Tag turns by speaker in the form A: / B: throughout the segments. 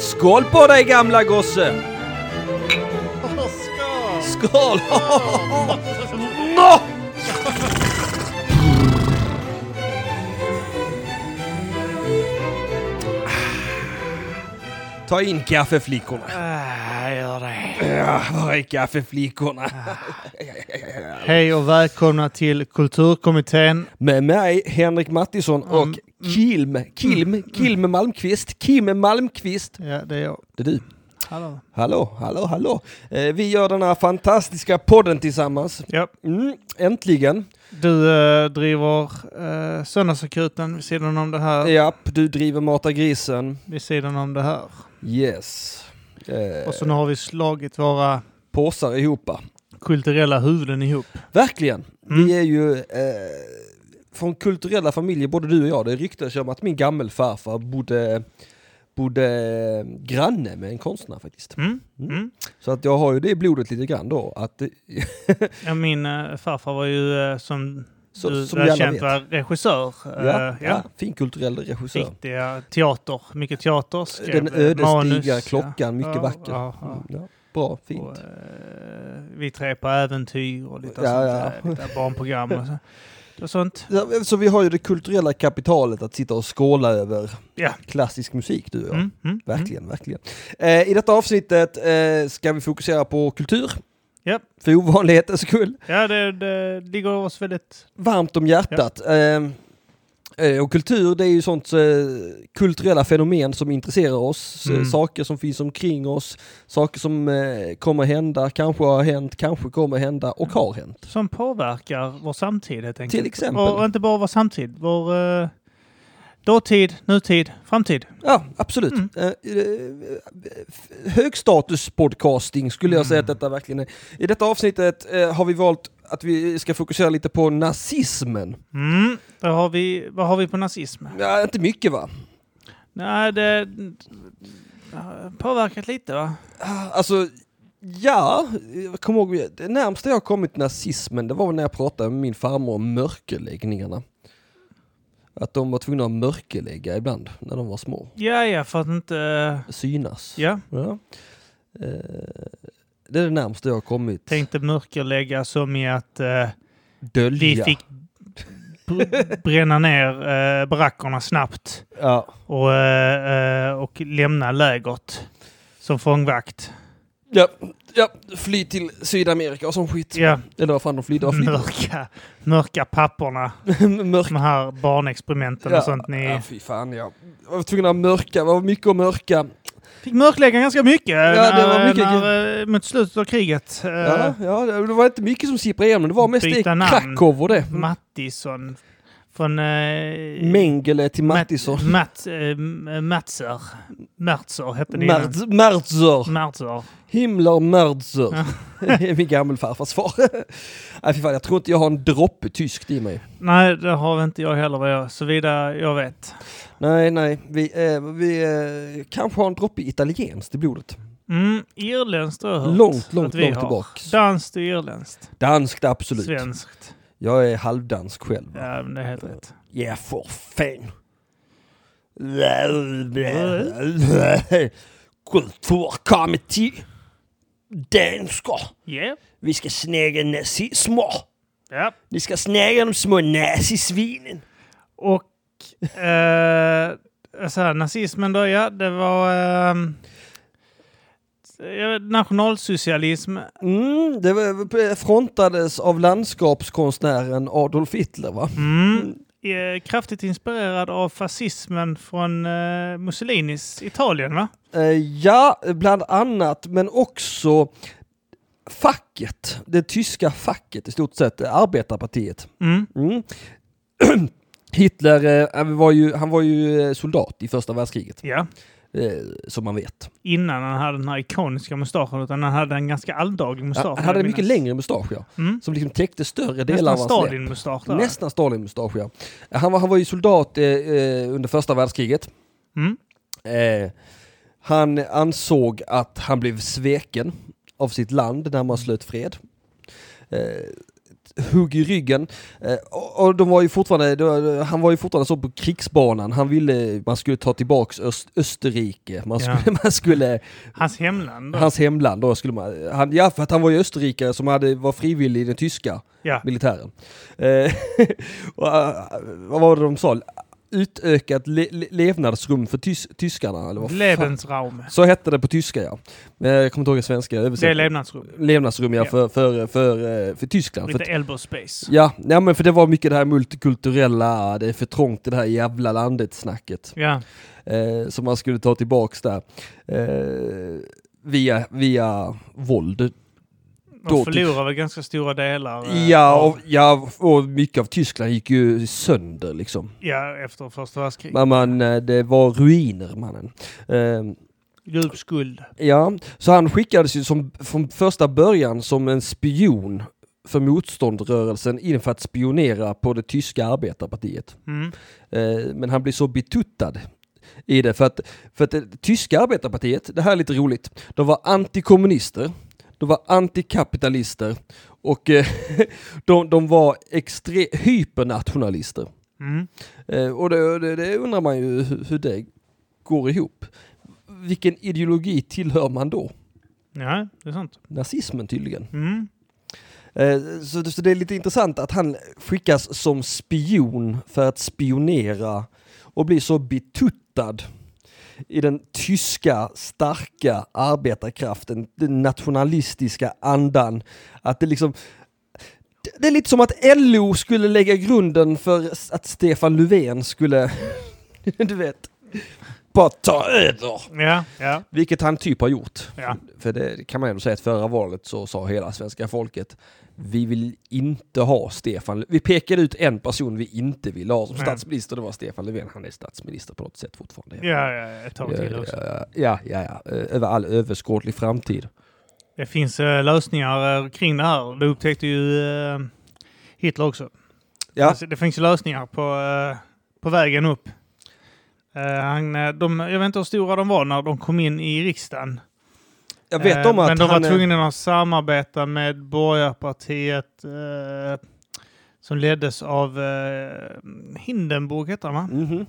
A: Skål på dig gamla gosse! Skål!
B: Skål!
A: Ta in kaffeflickorna.
B: Äh, gör det.
A: Ja, var är kaffeflickorna?
B: Hej och välkomna till Kulturkommittén.
A: Med mig Henrik Mattisson och
B: Mm.
A: Kilm, Kilm, Kilm Malmqvist, Kim Malmqvist.
B: Ja, det är jag.
A: Det är du.
B: Hallå.
A: Hallå, hallå, hallå. Eh, vi gör den här fantastiska podden tillsammans.
B: Ja.
A: Mm, äntligen.
B: Du eh, driver eh, Söndagsakuten vid sidan om det här.
A: Japp, du driver Mata grisen.
B: Vid sidan om det här.
A: Yes. Eh,
B: Och så nu har vi slagit våra
A: påsar ihop.
B: kulturella huvuden ihop.
A: Verkligen.
B: Mm.
A: Vi är ju eh, från kulturella familjer, både du och jag. Det ryktas ju om att min gammelfarfar bodde, bodde eh, granne med en konstnär faktiskt.
B: Mm.
A: Mm.
B: Mm.
A: Så att jag har ju det i blodet lite grann då. Att, eh, det-
B: Eh, Ja, min eh, farfar var ju eh, som
A: så,
B: du
A: som vi
B: väl
A: alla
B: känt
A: vet.
B: var regissör. Eh,
A: Ja,
B: ja.
A: ja. Finkulturell regissör.
B: Riktiga teater, mycket teater. skrev,
A: Den
B: eh, manus,
A: ödesdigra
B: ja.
A: klockan, mycket
B: Ja,
A: vacker.
B: ja, ja.
A: Mm, ja. Bra,
B: Och,
A: fint.
B: eh, vi tre på äventyr och lite
A: Ja,
B: sånt
A: ja.
B: där, lite barnprogram och, så. och sånt.
A: Ja, Så vi har ju det kulturella kapitalet att sitta och skåla över
B: Ja.
A: klassisk musik du och jag.
B: Mm, mm,
A: Verkligen, verkligen. Eh, I detta avsnittet eh, ska vi fokusera på kultur.
B: Ja.
A: För ovanlighetens skull.
B: Mm. Ja, det, det ligger oss väldigt...
A: Varmt om hjärtat. Eh, eh, och kultur det är ju sånt eh, kulturella fenomen som intresserar oss.
B: Mm.
A: Eh, saker som finns omkring oss. Saker som eh, kommer hända, kanske har hänt, kanske kommer hända och
B: Mm.
A: har hänt.
B: Som påverkar vår samtid helt enkelt.
A: Till exempel.
B: Och, och inte bara vår samtid. Vår eh, dåtid, nutid, framtid.
A: Ja, absolut.
B: Mm.
A: Eh, eh, f- hög status podcasting skulle jag säga
B: Mm.
A: att detta verkligen är. I detta avsnittet eh, har vi valt att vi ska fokusera lite på nazismen.
B: Mm. Där har vi, vad har vi på nazism?
A: Ja, inte mycket va?
B: Nej, det... det har Påverkat lite va?
A: Ah, Alltså, ja, jag kommer ihåg, det närmsta jag har kommit nazismen det var väl när jag pratade med min farmor om mörkerläggningarna. Att de var tvungna att mörkerlägga ibland när de var små.
B: Ja, ja, för att inte...
A: Synas.
B: Ja,
A: Ja. Eh, det är det närmsta jag har kommit.
B: tänkte mörkerlägga som i att... eh,
A: Dölja.
B: Vi fick br- bränna ner eh, barackerna snabbt
A: Ja.
B: och, eh, eh, och lämna lägret som fångvakt.
A: Ja, ja, fly till Sydamerika och sån skit.
B: Ja,
A: Eller vad fan de flydde, vad flydde
B: mörka, mörka papperna,
A: de? Mörk...
B: de här barnexperimenten
A: Ja,
B: och sånt. Ni
A: Ja, fy fan ja. Jag var tvungen att mörka, det var mycket att mörka.
B: fick mörklägga ganska mycket,
A: det var
B: när-
A: mycket
B: när, eh, mot slutet av kriget. eh,
A: Ja, ja, det var inte mycket som sipprade igenom, det var mest i
B: Byta namn.
A: Krakow och det.
B: Mattisson från... eh,
A: Mengele till Mattisson.
B: Matt, Matt, eh, Matzer. Mertzer hette det innan.
A: Merz- Merzer!
B: Mertzer.
A: Himmler Merzer! Det är Min gammelfarfars far. Nej fy fan, jag tror inte jag har en droppe tyskt i mig.
B: Nej, det har inte jag heller vad jag, såvida jag vet.
A: Nej, nej, vi, eh, vi eh, kanske har en droppe italienskt i blodet.
B: Mm, irländskt har jag hört
A: Långt, långt,
B: att vi
A: långt
B: har.
A: tillbaks.
B: Danskt och irländskt.
A: Danskt, absolut.
B: Svenskt.
A: Jag är halvdansk själv. va?
B: Ja, men det är helt rätt.
A: Ja, för fan. Kulturkommitté. Danskar.
B: Yeah.
A: Vi ska snäga nazismer.
B: Ja.
A: Vi ska snäga de små nazisvinen.
B: Och eh, så här, nazismen då, ja, det var ehm, jag vet, nationalsocialism.
A: Mm, det var- frontades av landskapskonstnären Adolf Hitler va?
B: Mm. Eh, kraftigt inspirerad av fascismen från eh, Mussolinis Italien, va?
A: Eh, ja, bland annat, men också facket. Det tyska facket i stort sett, eh, arbetarpartiet.
B: Mm.
A: Mm. Hitler, eh, han, var ju, han var ju eh, soldat i första världskriget,
B: Ja.
A: eh, som man vet.
B: innan han hade den här ikoniska mustaschen, utan han hade en ganska alldaglig mustasch.
A: Han
B: vill jag
A: hade en mycket
B: minnas.
A: längre mustasch, ja.
B: Mm.
A: Som liksom täckte större delar
B: Nästan
A: av hans läpp.
B: Stalin-mustasch där.
A: Nästan Stalin-mustasch, ja. Han var, han var ju soldat eh, eh, under första världskriget.
B: Mm.
A: Eh, han ansåg att han blev sveken av sitt land när man slöt fred. Eh, hugg i ryggen. Eh, och- Och de var ju fortfarande, då- han var ju fortfarande så på krigsbanan. Han ville, man skulle ta tillbaks Öst, Österrike. Man
B: Ja.
A: skulle, man skulle
B: Hans hemland. då.
A: hans hemland då skulle man, han, ja för att han var ju österrikare som hade, var frivillig i den tyska
B: Ja.
A: militären. Eh, och, eh, vad var det de sa? Utökat le, le, levnadsrum för tys, tyskarna eller vad fan?
B: Lebensraum.
A: Så hette det på tyska ja. Men jag kommer inte ihåg den svenska
B: Det är
A: översättningen.
B: levnadsrum.
A: Levnadsrum ja,
B: Ja.
A: För, för, för, eh, för Tyskland. För
B: Lite elbow space.
A: Ja, nej men för det var mycket det här multikulturella, det är för trångt i det här jävla landet snacket.
B: Ja.
A: Eh, som man skulle ta tillbaks där. Eh, via, via våld.
B: De
A: Då-
B: förlorar väl ganska stora delar. eh,
A: Ja
B: av-
A: och, ja, och mycket av Tyskland gick ju sönder liksom.
B: ja, efter första världskriget.
A: Men man, eh, det var ruiner mannen. Eh,
B: Djup skuld.
A: ja, så han skickades ju som, från första början som en spion för motståndsrörelsen in för att spionera på det tyska arbetarpartiet.
B: Mm.
A: Eh, men han blir så betuttad i det för att, för att det tyska arbetarpartiet, det här är lite roligt, de var antikommunister, de var antikapitalister och eh, de, de var extre- hypernationalister.
B: Mm.
A: Eh, och det, det, det undrar man ju hur, hur det går ihop. Vilken ideologi tillhör man då?
B: Ja, det är sant.
A: Nazismen tydligen.
B: Mm.
A: Eh, så, så det är lite intressant att han skickas som spion för att spionera och blir så betuttad i den tyska starka arbetarkraften, den nationalistiska andan. Att det liksom det- det är lite som att LO skulle lägga grunden för s- att Stefan Löfven skulle, du vet, bara ta över.
B: Ja, ja,
A: Vilket han typ har gjort.
B: ja.
A: För det kan man ju ändå säga att förra valet så sa hela svenska folket vi vill inte ha Stefan Vi pekade ut en person vi inte ville ha som
B: Nej.
A: statsminister. Det var Stefan Löfven. Han är statsminister på något sätt fortfarande.
B: Ja, ja, ett tag till
A: ja,
B: också.
A: ja, ja, ja, ja. Över all överskådlig framtid.
B: Det finns eh, lösningar eh, kring det här. Det upptäckte ju eh, Hitler också.
A: Ja.
B: Alltså, det finns ju lösningar på, eh, på vägen upp. Eh, han, eh, de, jag vet inte hur stora de var när de kom in i riksdagen.
A: Jag vet
B: Eh,
A: om att
B: men de
A: han,
B: var tvungna att samarbeta med borgarpartiet eh, som leddes av eh, Hindenburg, heter han va?
A: Mhm.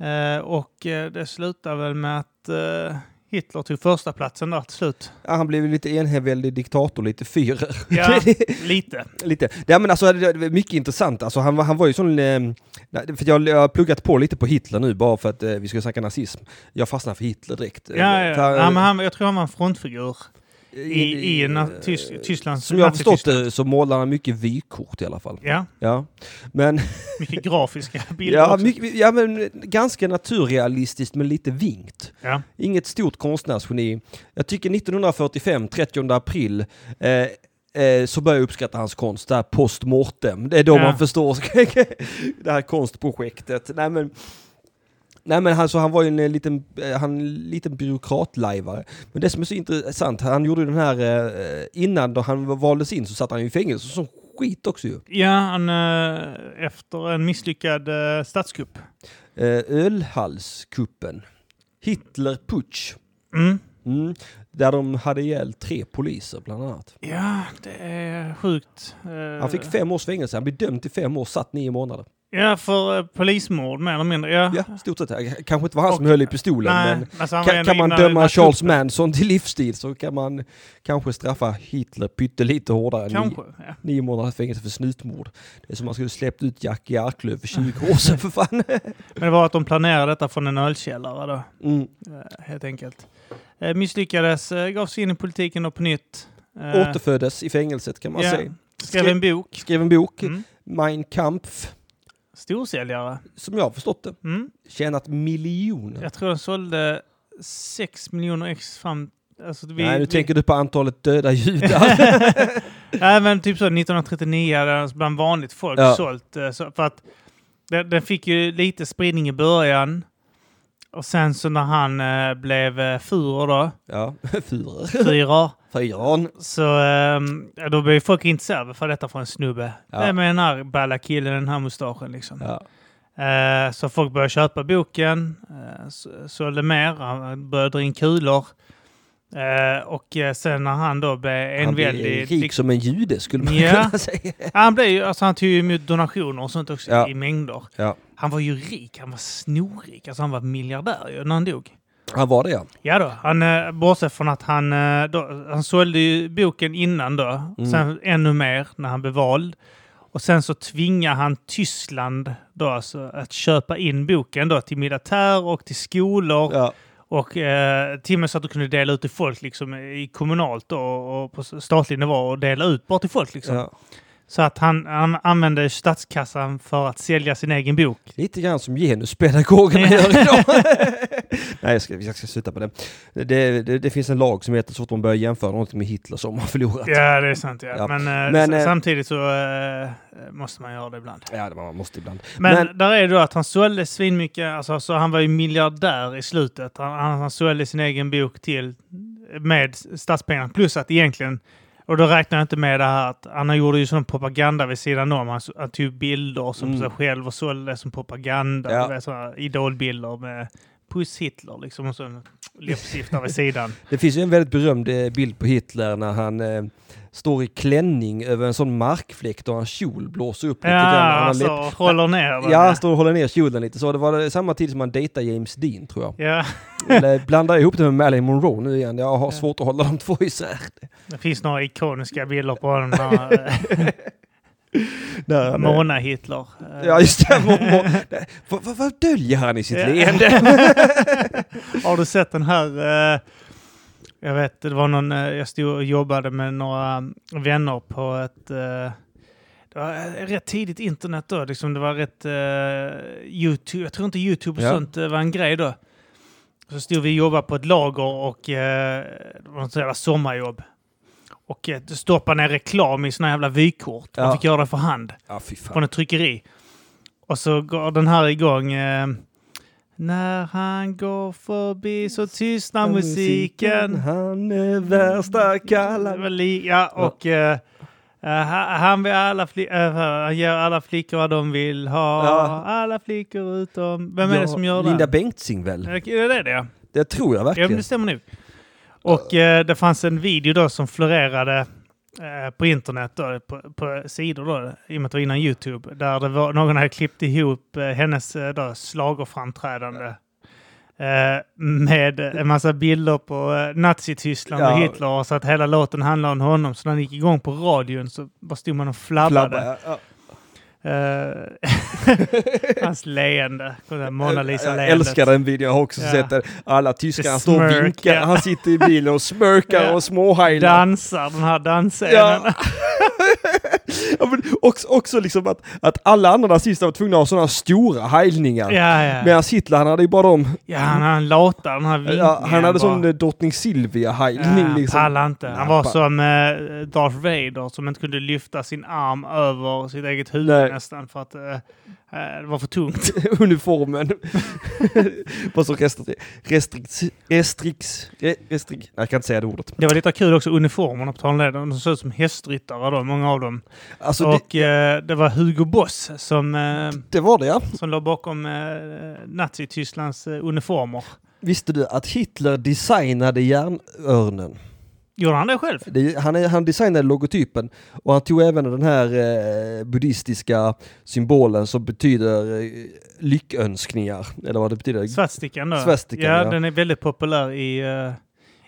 B: Eh, och eh, det slutade väl med att eh, Hitler tog första platsen där till slut.
A: ja, han blev ju lite enhällig diktator, lite fyrer.
B: Ja, lite.
A: Lite. Ja, men alltså, det var mycket intressant. Alltså, han, var- han var ju sån... eh, nej, För jag jag har pluggat på lite på Hitler nu bara för att eh, vi ska snacka nazism. Jag fastnade för Hitler direkt. Eh,
B: Ja, ja.
A: för-
B: ja, men han, jag tror han var en frontfigur i,
A: i-
B: i, na- Tys- Tysklands
A: Som jag har
B: nazityskland.
A: förstått det så målar han mycket vykort i alla fall.
B: Ja,
A: Ja, men,
B: mycket grafiska bilder
A: ja,
B: också.
A: mycket, ja, men ganska naturrealistiskt men lite vinkt.
B: Ja.
A: Inget stort konstnärsgeni. Jag tycker 1945, 30 april, eh, eh, så börjar jag uppskatta hans konst där post mortem. Det är då
B: Ja.
A: man förstår det här konstprojektet. Nej men, nej, men han, så han var ju en eh, liten, eh, han, liten byråkratlajvare. Men det som är så intressant, han gjorde ju den här, eh, innan då han valdes in så satt han ju i fängelse som skit också ju.
B: Ja, han, eh, efter en misslyckad eh, statskupp.
A: Eh, ölhalskuppen. Hitlerputsch.
B: Mm.
A: Mm. Där de hade ihjäl tre poliser bland annat.
B: Ja, det är sjukt. Eh,
A: Han fick fem års fängelse, han blev dömd till fem år, satt nio månader.
B: Ja, för eh, polismord mer eller mindre. Ja.
A: Ja, stort sett. Eh, Kanske inte var han som
B: Och-
A: höll i pistolen, men
B: Nej, alltså han var
A: kan,
B: ändå
A: kan man
B: innan-
A: döma
B: innan
A: Charles
B: kuppen.
A: Manson till livstid så kan man kanske straffa Hitler pyttelite hårdare. än Nio,
B: Kanske, ja.
A: nio månaders fängelse för snutmord. Det är som om man skulle släppt ut Jackie Arklöv för 20 år sedan för fan.
B: Men det var att de planerade detta från en ölkällare då,
A: Mm.
B: eh, helt enkelt. Eh, Misslyckades, eh, gav sig in i politiken och på nytt. Eh,
A: Återföddes i fängelset kan man
B: ja.
A: säga.
B: Skrev en bok.
A: Skrev en bok,
B: Mm.
A: Mein Kampf,
B: Storsäljare.
A: som jag har förstått det,
B: Mm.
A: tjänat miljoner.
B: Jag tror den sålde 6 miljoner ex fram... Alltså, vi,
A: Nej, nu
B: vi,
A: tänker du på antalet döda judar.
B: Nej, men typ så 1939 hade den bland vanligt folk
A: Ja.
B: sålt. eh, Så, för att den, den fick ju lite spridning i början. Och sen så när han eh, blev eh, Führer då,
A: ja, fyra.
B: Führer,
A: Fyran.
B: så ehm, ja, då blev ju folk intresserade för detta från en snubbe.
A: Ja.
B: Vem är den här balla killen, den här mustaschen liksom?
A: Ja.
B: Eh, så folk började köpa boken, eh, så- sålde mer, han började dra in kulor. Eh, och eh, sen när han då blev
A: Han blir
B: enväldig...
A: rik som en jude skulle man
B: Ja.
A: kunna säga.
B: Han, blev ju, alltså, han tog ju emot donationer och sånt också
A: Ja.
B: i mängder.
A: Ja.
B: Han var ju rik, han var snorrik. Alltså han var miljardär ju när han dog.
A: Han var det ja.
B: Ja då, han, eh, bortsett från att han, eh, då, han sålde ju boken innan då,
A: Mm.
B: sen ännu mer när han blev vald. Och sen så tvingade han Tyskland då alltså att köpa in boken då till militär och till skolor
A: ja.
B: och eh, till och med så att du kunde dela ut till folk liksom i kommunalt då, och på statlig nivå och dela ut bara till folk liksom.
A: ja.
B: Så att han, han använde statskassan för att sälja sin egen bok.
A: Lite grann som genuspedagogerna gör idag. Nej, jag ska, jag ska sluta på det. Det, det. det finns en lag som heter så att man börjar jämföra någonting med Hitler så har man förlorat.
B: Ja, det är sant. Ja.
A: Ja.
B: Men, eh,
A: Men,
B: s-
A: eh,
B: samtidigt så eh, måste man göra det ibland.
A: Ja, det man måste ibland.
B: Men,
A: Men-
B: där är det då att han sålde svinmycket, alltså, så han var ju miljardär i slutet. Han, han, han sålde sin egen bok till med statspengar. Plus att egentligen, och då räknar jag inte med det här att han gjorde ju sån propaganda vid sidan om. Han, s- han tog bilder som
A: Mm.
B: sig själv och sålde som propaganda.
A: Ja.
B: Du vet, Sådana idolbilder med Puss Hitler liksom och så en läppstift där vid sidan.
A: Det finns ju en väldigt berömd eh, bild på Hitler när han eh, står i klänning över en sån markfläkt och hans kjol blåser upp lite
B: ja,
A: grann. Han har
B: alltså
A: läpp-
B: håller ner den.
A: Ja, han står och håller ner kjolen lite så. Det var det samma tid som han dejtade James Dean tror jag.
B: Ja,
A: Eller blandar ihop det med Marilyn Monroe nu igen. Jag har
B: Ja.
A: svårt att hålla de två isär.
B: det finns några ikoniska bilder på honom. där,
A: Där
B: eh,
A: han är.
B: Mona Hitler. eh,
A: Ja, just det. Mor- mor- Nej, Vad, vad, vad döljer han i sitt
B: Ja.
A: leende?
B: Har du sett den här? eh, jag vet, det var någon, eh, jag stod och jobbade med några mm, vänner på ett eh, det var eh, rätt tidigt internet då, liksom det var rätt eh, Youtube, jag tror inte Youtube och
A: Ja.
B: sånt eh, var en grej då. Så stod vi och jobbade på ett lager och eh, det var något jävla sommarjobb. Och eh, stoppade ner reklam i såna jävla vykort. Man
A: Ja.
B: fick göra det för hand
A: Ja, fy fan.
B: från ett tryckeri. Och så går den här igång. Eh, när han går förbi så tystnar musiken. Mm.
A: Han är värsta
B: Det var
A: kallan.
B: li- Ja, och eh, eh, ha- han, vill alla fli- eh, han ger alla flickor vad de vill ha.
A: Ja.
B: Alla flickor utom... Vem är det som gör det?
A: Linda Bengtzing väl?
B: Eh, Det är det, ja.
A: Det tror jag
B: Ja, men
A: verkligen.
B: det stämmer nog. Och eh, det fanns en video då som florerade eh, på internet, då, på, på sidor då, i och med att det var innan YouTube, där det var, någon hade klippt ihop eh, hennes eh, då, schlagerframträdande eh, med en massa bilder på eh, Nazityskland och
A: Ja.
B: Hitler, och så att hela låten handlade om honom. Så när den gick igång på radion så bara stod man och flabbade.
A: Flabba, ja.
B: Eh, hans leende, Mona
A: jag
B: Lisa-leendet.
A: älskar den videon, jag har också
B: Ja.
A: sett den. Alla tyskar,
B: Det
A: han står och
B: smirk,
A: vinkar,
B: ja.
A: han sitter i bilen och smörkar
B: Ja.
A: och småhajlar.
B: Dansar, den här dansscenen.
A: Ja. Ja, men också, också liksom att, att alla andra nazister var tvungna att ha sådana stora hajlningar.
B: Ja, ja.
A: Medan Hitler, han hade ju bara dem
B: Ja, han, han lata, den här vinkningen.
A: Ja, han hade
B: bara.
A: sån eh, drottning Silvia-hajlning
B: Ja,
A: liksom.
B: pallade inte. Han var
A: Nappa.
B: som eh, Darth Vader som inte kunde lyfta sin arm över sitt eget huvud
A: Nej.
B: nästan för att eh, eh, det var för tungt.
A: Uniformen. Vad så restrikt... Restrikt... Restrikt... Restrikt... Nej, jag kan inte säga det ordet.
B: Det var lite kul också, uniformerna på tal om det. De såg ut som hästryttare då, många av dem.
A: Alltså, det,
B: och det... Eh, det var Hugo Boss som, eh,
A: det var det ja.
B: som låg bakom eh, Nazitysklands eh, uniformer.
A: Visste du att Hitler designade järnörnen?
B: Gjorde han det själv?
A: Det, han, är- han designade logotypen och han tog även den här eh, buddhistiska symbolen som betyder eh, lyckönskningar. Eller vad det betyder.
B: Svastikan då?
A: Svastikan,
B: ja,
A: ja.
B: den är väldigt populär i eh,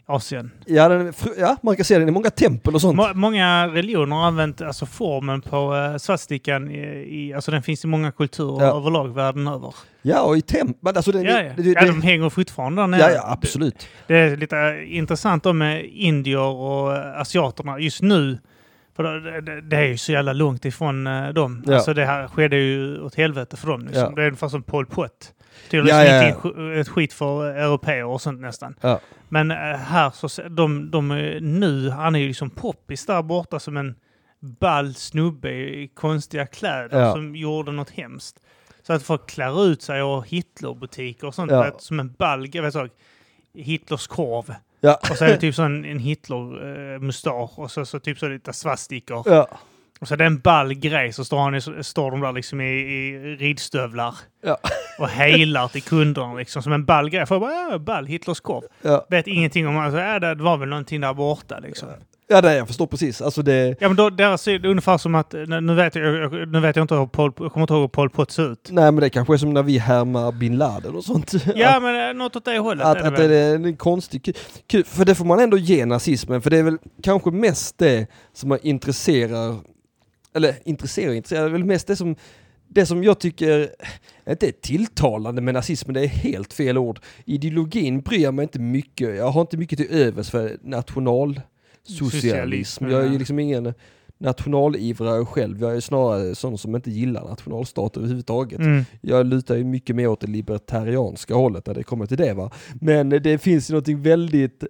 B: Asien.
A: Ja, den, är fru- ja, man kan se den i många tempel och sånt.
B: Må- många religioner har använt alltså, formen på eh, svastikan. I, i, alltså, den finns i många kulturer
A: Ja.
B: överlag världen över.
A: Ja, och i tempel. Alltså, den,
B: Ja, ja.
A: det- det-
B: ja, de hänger fortfarande där nere.
A: ja, ja, absolut.
B: Det är lite eh, intressant då med indier och eh, asiaterna just nu. För det, det, det är ju så jävla långt ifrån eh, dem.
A: Ja.
B: Alltså det här skedde ju åt helvete för dem. Liksom.
A: Ja.
B: Det är ungefär som Pol Pot. Det är
A: Ja,
B: liksom
A: ja, ja.
B: inte en sk- ett skit för eh, europeer och sånt nästan.
A: Ja.
B: Men eh, här så, se- de, de är nu, han är ju liksom poppis där borta som en ball snubbe i konstiga kläder
A: Ja.
B: som gjorde något hemskt. Så att folk klär ut sig och Hitlerbutiker och sånt
A: Ja.
B: vet, som en ball, jag vet så, Hitlers korv.
A: Ja.
B: eh, Och så är det typ sån, en Hitler-mustasch och så, så typ så lite svastikor.
A: Ja.
B: Och så är det en ball grej så står, han, i- står de där liksom i, i ridstövlar
A: Ja.
B: och heilar till kunderna liksom som en ball grej. För jag bara, ja, ball, Hitlers korv.
A: Ja,
B: Vet ingenting om, alltså, ja, det var väl någonting där borta liksom.
A: ja det, jag förstår precis. Alltså det...
B: Ja men då, deras syn, ungefär som att, nu nu vet jag, jag- nu vet jag inte hur Pol, jag kommer inte ihåg hur Pol Pot ser ut.
A: Nej men det kanske är som när vi härmar bin Laden och sånt.
B: Ja men eh, något åt det hållet
A: Att,
B: är
A: att,
B: det
A: att
B: väl.
A: det är en konstig... ku- ku- För det får man ändå ge nazismen, för det är väl kanske mest det som man intresserar... Eller intresserar och intresserar, det är väl mest det som... Det som jag tycker, inte är tilltalande med nazismen, det är helt fel ord. Ideologin bryr jag mig inte mycket, jag har inte mycket till övers för nationalsocialism.
B: Socialism,
A: Jag är ju
B: ja.
A: liksom ingen nationalivrare själv, jag är snarare sån som inte gillar nationalstat överhuvudtaget.
B: Mm.
A: Jag lutar ju mycket mer åt det libertarianska hållet när det kommer till det va. Men det finns ju någonting väldigt,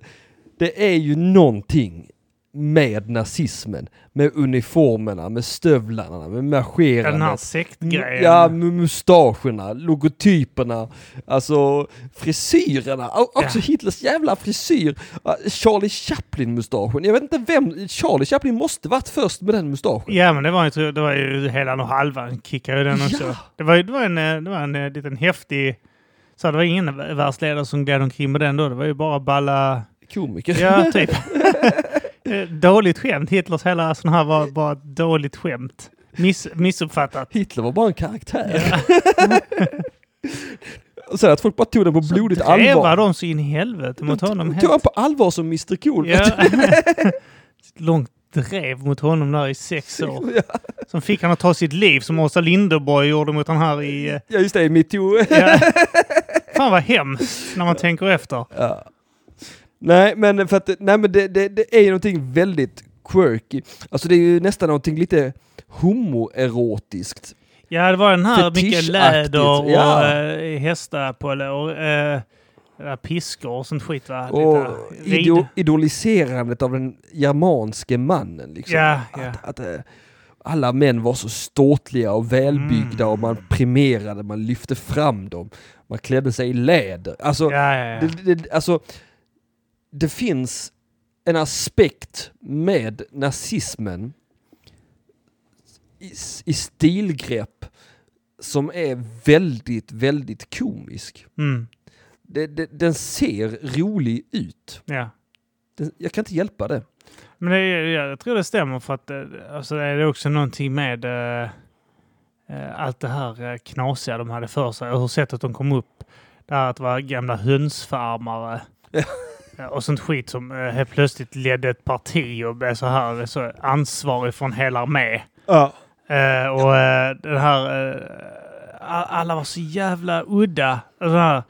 A: det är ju någonting med nazismen, med uniformerna, med stövlarna, med
B: Ja, Den här
A: marscherandet.
B: sektgrejen.
A: Ja, med mustascherna, logotyperna, alltså frisyrerna, och också
B: Ja.
A: Hitlers jävla frisyr. Ja, Charlie Chaplin-mustaschen, jag vet inte vem, Charlie Chaplin måste varit först med den mustaschen.
B: Ja, men det var ju, det var ju hela och halvan kickade ju den
A: Ja.
B: också. Det var, ju- det var en, eh, det var en eh, liten häftig... Så det var ingen världsledare som gled omkring med den då. Det var ju bara balla...
A: Komiker.
B: Ja, typ. Eh, dåligt skämt. Hitlers hela sån här var bara ett dåligt skämt. Miss, missuppfattat.
A: Hitler var bara en karaktär. Och Sen att folk bara tog den på blodigt
B: Drevar
A: allvar.
B: de så in i helvete mot honom
A: Tog han
B: helt.
A: på allvar som Mr Cool.
B: Ja. Ett Långt drev mot honom där i sex år.
A: Ja.
B: Som fick han att ta sitt liv som Åsa Linderborg gjorde mot den här i... eh,
A: ja just det, metoo.
B: Ja. Fan vad hemskt när man tänker efter.
A: Ja. Nej men för att, nej men det, det, det är ju någonting väldigt quirky. Alltså det är ju nästan någonting lite homoerotiskt.
B: Ja, det var den här mycket
A: Fetischaktigt,
B: läder och
A: ja.
B: eh, hästar på eller, och eh, där piskor och sånt skit va?
A: Och
B: Lite rid-
A: idol, idoliserandet av den germanske mannen liksom.
B: Ja, ja.
A: Att, att eh, alla män var så ståtliga och välbyggda
B: Mm.
A: och man primerade, man lyfte fram dem. Man klädde sig i läder. Alltså,
B: Ja, ja, ja.
A: det, det, alltså, det finns en aspekt med nazismen i, i stilgrepp som är väldigt, väldigt komisk.
B: Mm,
A: Det, det, den ser rolig ut.
B: ja.
A: Den, jag kan inte hjälpa det.
B: Men det, är- ja, jag tror det stämmer för att eh, alltså, det är också någonting med eh, eh, allt det här eh, knasiga de hade för sig och hur sättet de kom upp. Det här att vara gamla hönsfarmare.
A: Ja.
B: Eh, Och sånt skit som eh, helt plötsligt ledde ett parti och blev så här eh, så ansvarig från hela armé.
A: Ja.
B: Eh, och eh, den här... eh, a- alla var så jävla udda. Den här,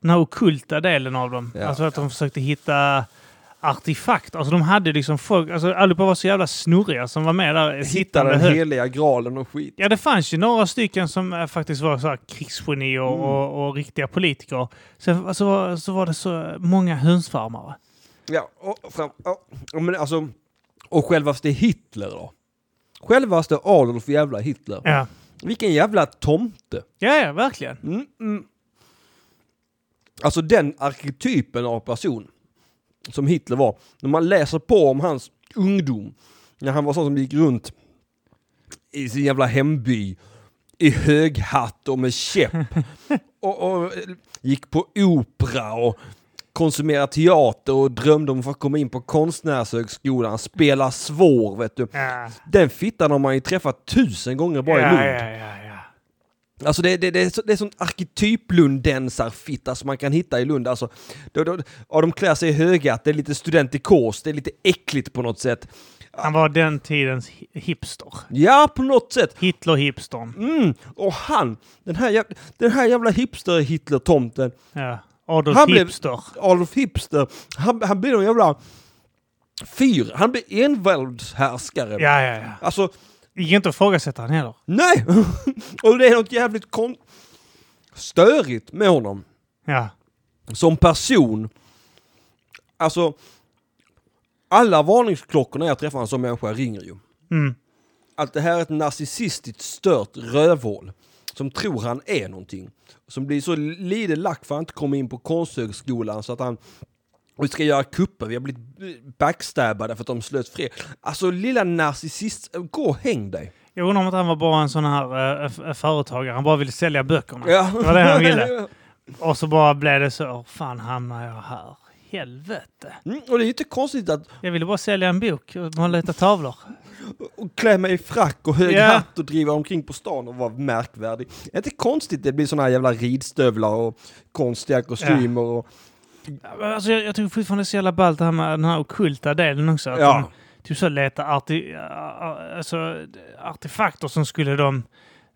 B: den här okulta delen av dem.
A: Ja,
B: alltså att de försökte hitta artefakter. Alltså de hade liksom folk... Alltså allihopa var så jävla snurriga som var med där.
A: Hitta
B: sittande
A: den
B: högt.
A: heliga graalen och skit.
B: Ja, det fanns ju några stycken som eh, faktiskt var så här krigsgenier och,
A: Mm.
B: och, och riktiga politiker. Sen alltså, var- så var det så många hönsfarmare.
A: Ja, och, fram, och, och, men alltså, och självaste Hitler då? Självaste Adolf jävla Hitler.
B: Ja,
A: Vilken jävla tomte.
B: ja, ja verkligen.
A: Mm, mm. Alltså den arketypen av person som Hitler var. När man läser på om hans ungdom, när han var sån som gick runt i sin jävla hemby i hög hatt och med käpp och, och eh, gick på opera och konsumerade teater och drömde om att få komma in på konstnärshögskolan, spela svår vet du.
B: Ja,
A: Den fittan har man ju träffat tusen gånger bara i
B: ja,
A: Lund.
B: ja, ja, ja.
A: Alltså det, det, det, är så, det är sånt arketyp-lundensarfitta som man kan hitta i Lund. Alltså, då, då, ja, de klär sig i högat, det är lite studentikos, det är lite äckligt på något sätt.
B: Han var den tidens hi- hipster.
A: Ja, på något sätt.
B: Hitler-hipstern.
A: Mm. Och han, den här, jäv- den här jävla hipster-Hitler-tomten,
B: Ja. Adolf
A: Han blev-
B: Hipster.
A: Adolf Hipster, han, han blir en jävla fyr, han blir envåldshärskare.
B: Ja, ja, ja.
A: Alltså,
B: Det gick inte att ifrågasätta han heller.
A: nej! och det är något jävligt kon- störigt med honom.
B: Ja.
A: som person, alltså alla varningsklockorna jag träffar en sån människa ringer ju.
B: Mm.
A: Att det här är ett narcissistiskt stört rövhål som tror han är någonting. Som blir så lite lack för att han inte kommer in på konsthögskolan så att han Och vi ska göra kupper, vi har blivit backstabbade för att de slöt fred. Alltså lilla narcissist, gå och häng dig.
B: Jag undrar om inte han var bara en sån här eh, f- företagare. Han bara ville sälja böckerna.
A: Ja.
B: Det var det han ville. Och så bara blev det så. "Åh, Fan hamnar jag här? Helvete.
A: Mm, och det är inte konstigt att
B: Jag ville bara sälja en bok och måla lite tavlor.
A: och klä mig i frack och hög
B: Ja.
A: hatt och driva omkring på stan och vara märkvärdig. Det är inte konstigt det blir såna här jävla ridstövlar och konstiga kostymer och...
B: Ja, men Alltså, jag, jag tycker fortfarande det är så jävla ballt det här med den här ockulta delen också. Att
A: Ja.
B: de, typ så letar arti, a- alltså, artefakter som skulle de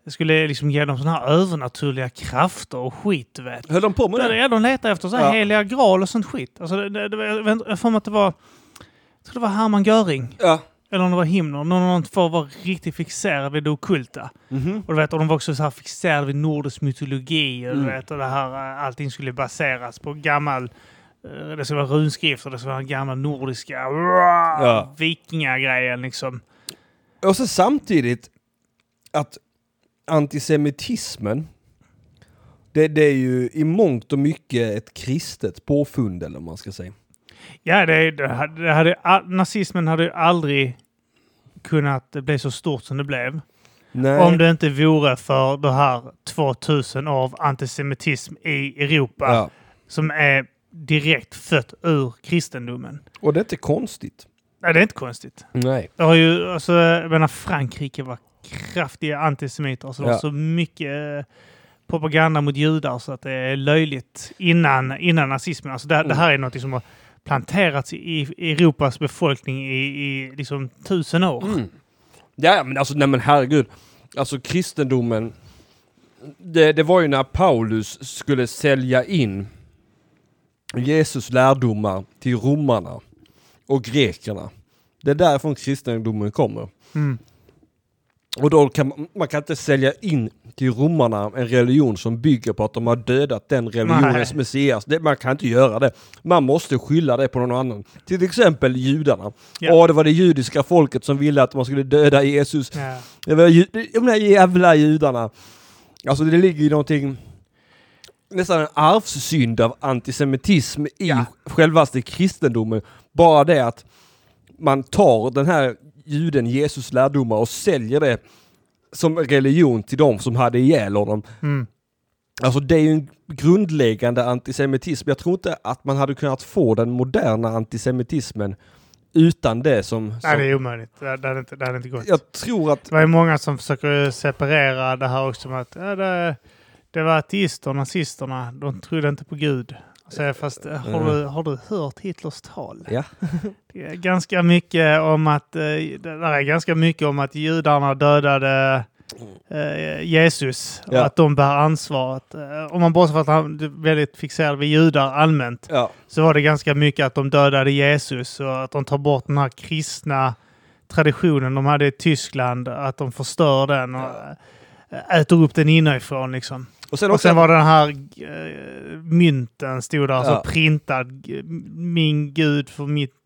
B: skulle liksom ge dem sådana här övernaturliga krafter och skit, du vet.
A: Höll de på med
B: Ja,
A: det?
B: det är de letar efter så här
A: Ja.
B: heliga graal och sånt skit. Alltså, det, det, det, var- jag vet inte, jag har för mig att det var... Jag tror det var Hermann Göring,
A: Ja.
B: eller om det var Himmler. Någon av de två var riktigt fixerad vid det ockulta.
A: Mhm.
B: Och, du vet, och de var också så här fixerade vid nordisk mytologi. Och,
A: Mm.
B: du vet, och det här, eh, allting skulle baseras på gammal... eh, Det skulle vara runskrifter, det skulle vara gamla nordiska ja. vikingagrejen liksom.
A: Och så samtidigt att antisemitismen, det, det är ju i mångt och mycket ett kristet påfund eller vad man ska säga.
B: Ja, det, det hade, det hade, all- nazismen hade ju aldrig kunnat bli så stort som det blev.
A: Nej.
B: Om det inte vore för det här 2000 av antisemitism i Europa
A: ja.
B: som är direkt fött ur kristendomen.
A: Och det är inte konstigt.
B: Nej, det är inte konstigt.
A: Nej.
B: Det har ju, alltså, jag menar, Frankrike var kraftiga antisemiter. Alltså, Det
A: Ja.
B: var så mycket eh, propaganda mot judar så att det är löjligt innan, innan nazismen. Alltså, det, det här är något som har planterats i, i Europas befolkning i, i liksom, tusen år.
A: Mm. Ja, men alltså, nej men herregud. Alltså kristendomen, det, det var ju när Paulus skulle sälja in Jesus lärdomar till romarna och grekerna. Det är därifrån kristendomen kommer.
B: Mm.
A: Och då kan man, man kan inte sälja in till romarna en religion som bygger på att de har dödat den religionens
B: Nej.
A: messias. Det, man kan inte göra det. Man måste skylla det på någon annan. Till exempel judarna. Ja,
B: Ja.
A: det var det judiska folket som ville att man skulle döda Jesus.
B: Ja.
A: Det var ju, de där jävla judarna. Alltså det ligger ju någonting, nästan en arvssynd av antisemitism i
B: Ja.
A: självaste kristendomen. Bara det att man tar den här juden Jesus lärdomar och säljer det som religion till de som hade ihjäl honom.
B: Mm.
A: Alltså det är ju en grundläggande antisemitism. Jag tror inte att man hade kunnat få den moderna antisemitismen utan det som... som
B: Nej, det är omöjligt. Det, det, hade inte, det hade inte gått.
A: Jag tror att...
B: Det var ju många som försöker separera det här också med att ja, det, det var ateister, nazisterna, de trodde inte på Gud. Alltså, fast eh, har du, har du hört Hitlers tal?
A: Mm. Ja.
B: Det är ganska mycket om att, eh, det där är ganska mycket om att judarna dödade eh, Jesus.
A: Ja.
B: Och att de bär ansvaret. Eh, Om man bortser från att han är väldigt fixerad vid judar allmänt
A: Ja.
B: så var det ganska mycket att de dödade Jesus och att de tar bort den här kristna traditionen de hade i Tyskland, att de förstör den och äh, äter upp den inifrån liksom.
A: Och sen
B: Och
A: också...
B: sen var den här äh, mynten stod där
A: Ja.
B: så printad. g- Min gud för mitt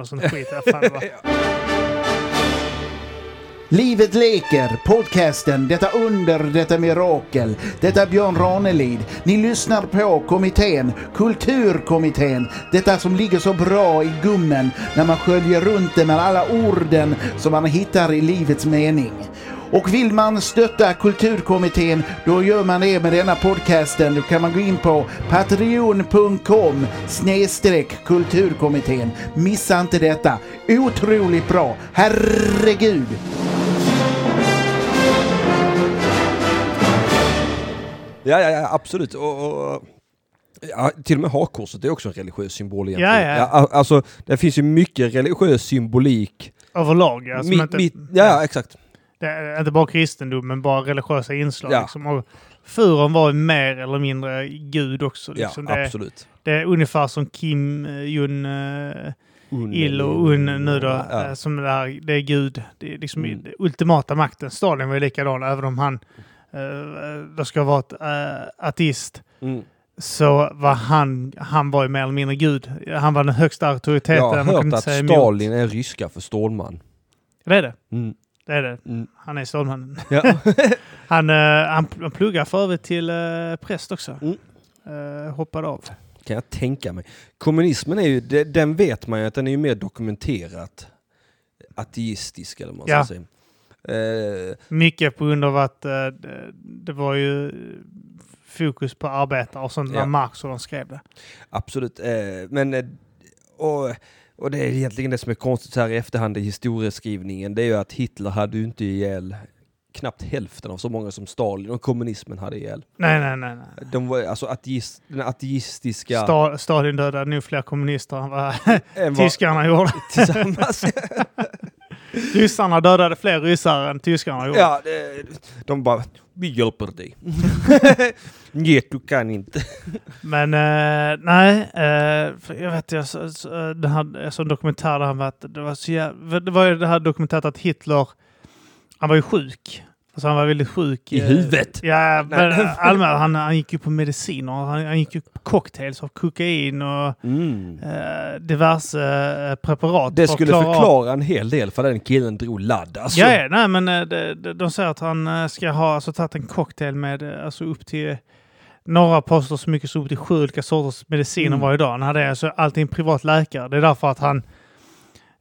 B: och sånt skit. Jag fan, det var-
C: Livet leker, podcasten, detta under, detta mirakel. Detta Björn Ranelid. Ni lyssnar på kommittén, Kulturkommittén. Detta som ligger så bra i gummen när man sköljer runt det med alla orden som man hittar i livets mening. Och vill man stötta Kulturkommittén, då gör man det med denna podcasten. Då kan man gå in på patreon.com snedstreck kulturkommittén. Missa inte detta. Otroligt bra. Herregud!
A: Ja, ja, ja absolut. Och, och, ja, till och med hakkorset är också en religiös symbol egentligen.
B: Ja, ja.
A: a- alltså, det finns ju mycket religiös symbolik.
B: Överlag, alltså,
A: Mi-
B: men inte,
A: mi- ja, ja, exakt.
B: det är inte bara kristendom, men bara religiösa inslag.
A: Ja.
B: Liksom. Och furon var ju mer eller mindre gud också. Liksom.
A: ja,
B: det,
A: absolut.
B: det är ungefär som Kim eh, Jun... eh,
A: Un-
B: ill och un nu då.
A: Mm. Ja.
B: eh, Som det, här, det är Gud. Det är liksom
A: Mm.
B: den ultimata makten. Stalin var ju likadan, även om han eh, då ska vara ett, eh, ateist.
A: Mm.
B: Så var han, han var ju mer eller mindre Gud. Han var den högsta auktoriteten.
A: Mm. Jag har
B: man kunde
A: hört
B: inte
A: att
B: säga emot.
A: Stalin är ryska för Stålman.
B: Det är det.
A: Mm.
B: Det är det.
A: Mm.
B: Han är Stålmannen.
A: Ja.
B: Han, eh, han, han pluggar för övrigt till eh, präst också.
A: Mm.
B: Eh, hoppade av.
A: Kan jag tänka mig. Kommunismen är ju, de- den vet man ju att den är ju mer dokumenterat ateistisk eller vad man
B: Ja.
A: ska säga. Eh,
B: Mycket på grund av att eh, det- det var ju fokus på arbetare och sånt när
A: Ja.
B: Marx och de skrev det.
A: absolut. Eh, men, eh, och, och det är egentligen det som är konstigt så här i efterhand i historieskrivningen. Det är ju att Hitler hade ju inte ihjäl knappt hälften av så många som Stalin och kommunismen hade ihjäl.
B: Nej, nej, nej. nej.
A: De var alltså ateist, den ateistiska...
B: Sta- Stalin dödade nu fler kommunister än vad
A: än vad- Alltså,
B: tyskarna gjorde.
A: Tillsammans.
B: Ryssarna dödade fler ryssar än tyskarna gjorde.
A: ja, det, de bara, vi hjälper dig. Nej, du kan inte.
B: Men eh, nej, eh, för jag vet jag, så, så, den här, jag såg en dokumentär där han var att det var så jävla, det var ju det här dokumentärt att Hitler, han var ju sjuk. Alltså han var väldigt sjuk.
A: I
B: eh,
A: huvudet.
B: Ja,
A: Nej.
B: men eh, allmänt, han, han gick ju på mediciner, han, han gick ju på cocktails av kokain och
A: Mm.
B: eh, diverse eh, preparat.
A: Det
B: för att
A: skulle
B: klara av-
A: förklara en hel del för den killen drog ladd. Alltså.
B: Ja, ja, nej, men eh, de, de, de säger att han eh, ska ha alltså, tagit en cocktail med eh, alltså, upp till några påstår så mycket som upp till sju olika sorters mediciner
A: Mm.
B: varje dag. Han hade alltså alltid en privat läkare. Det är därför att han,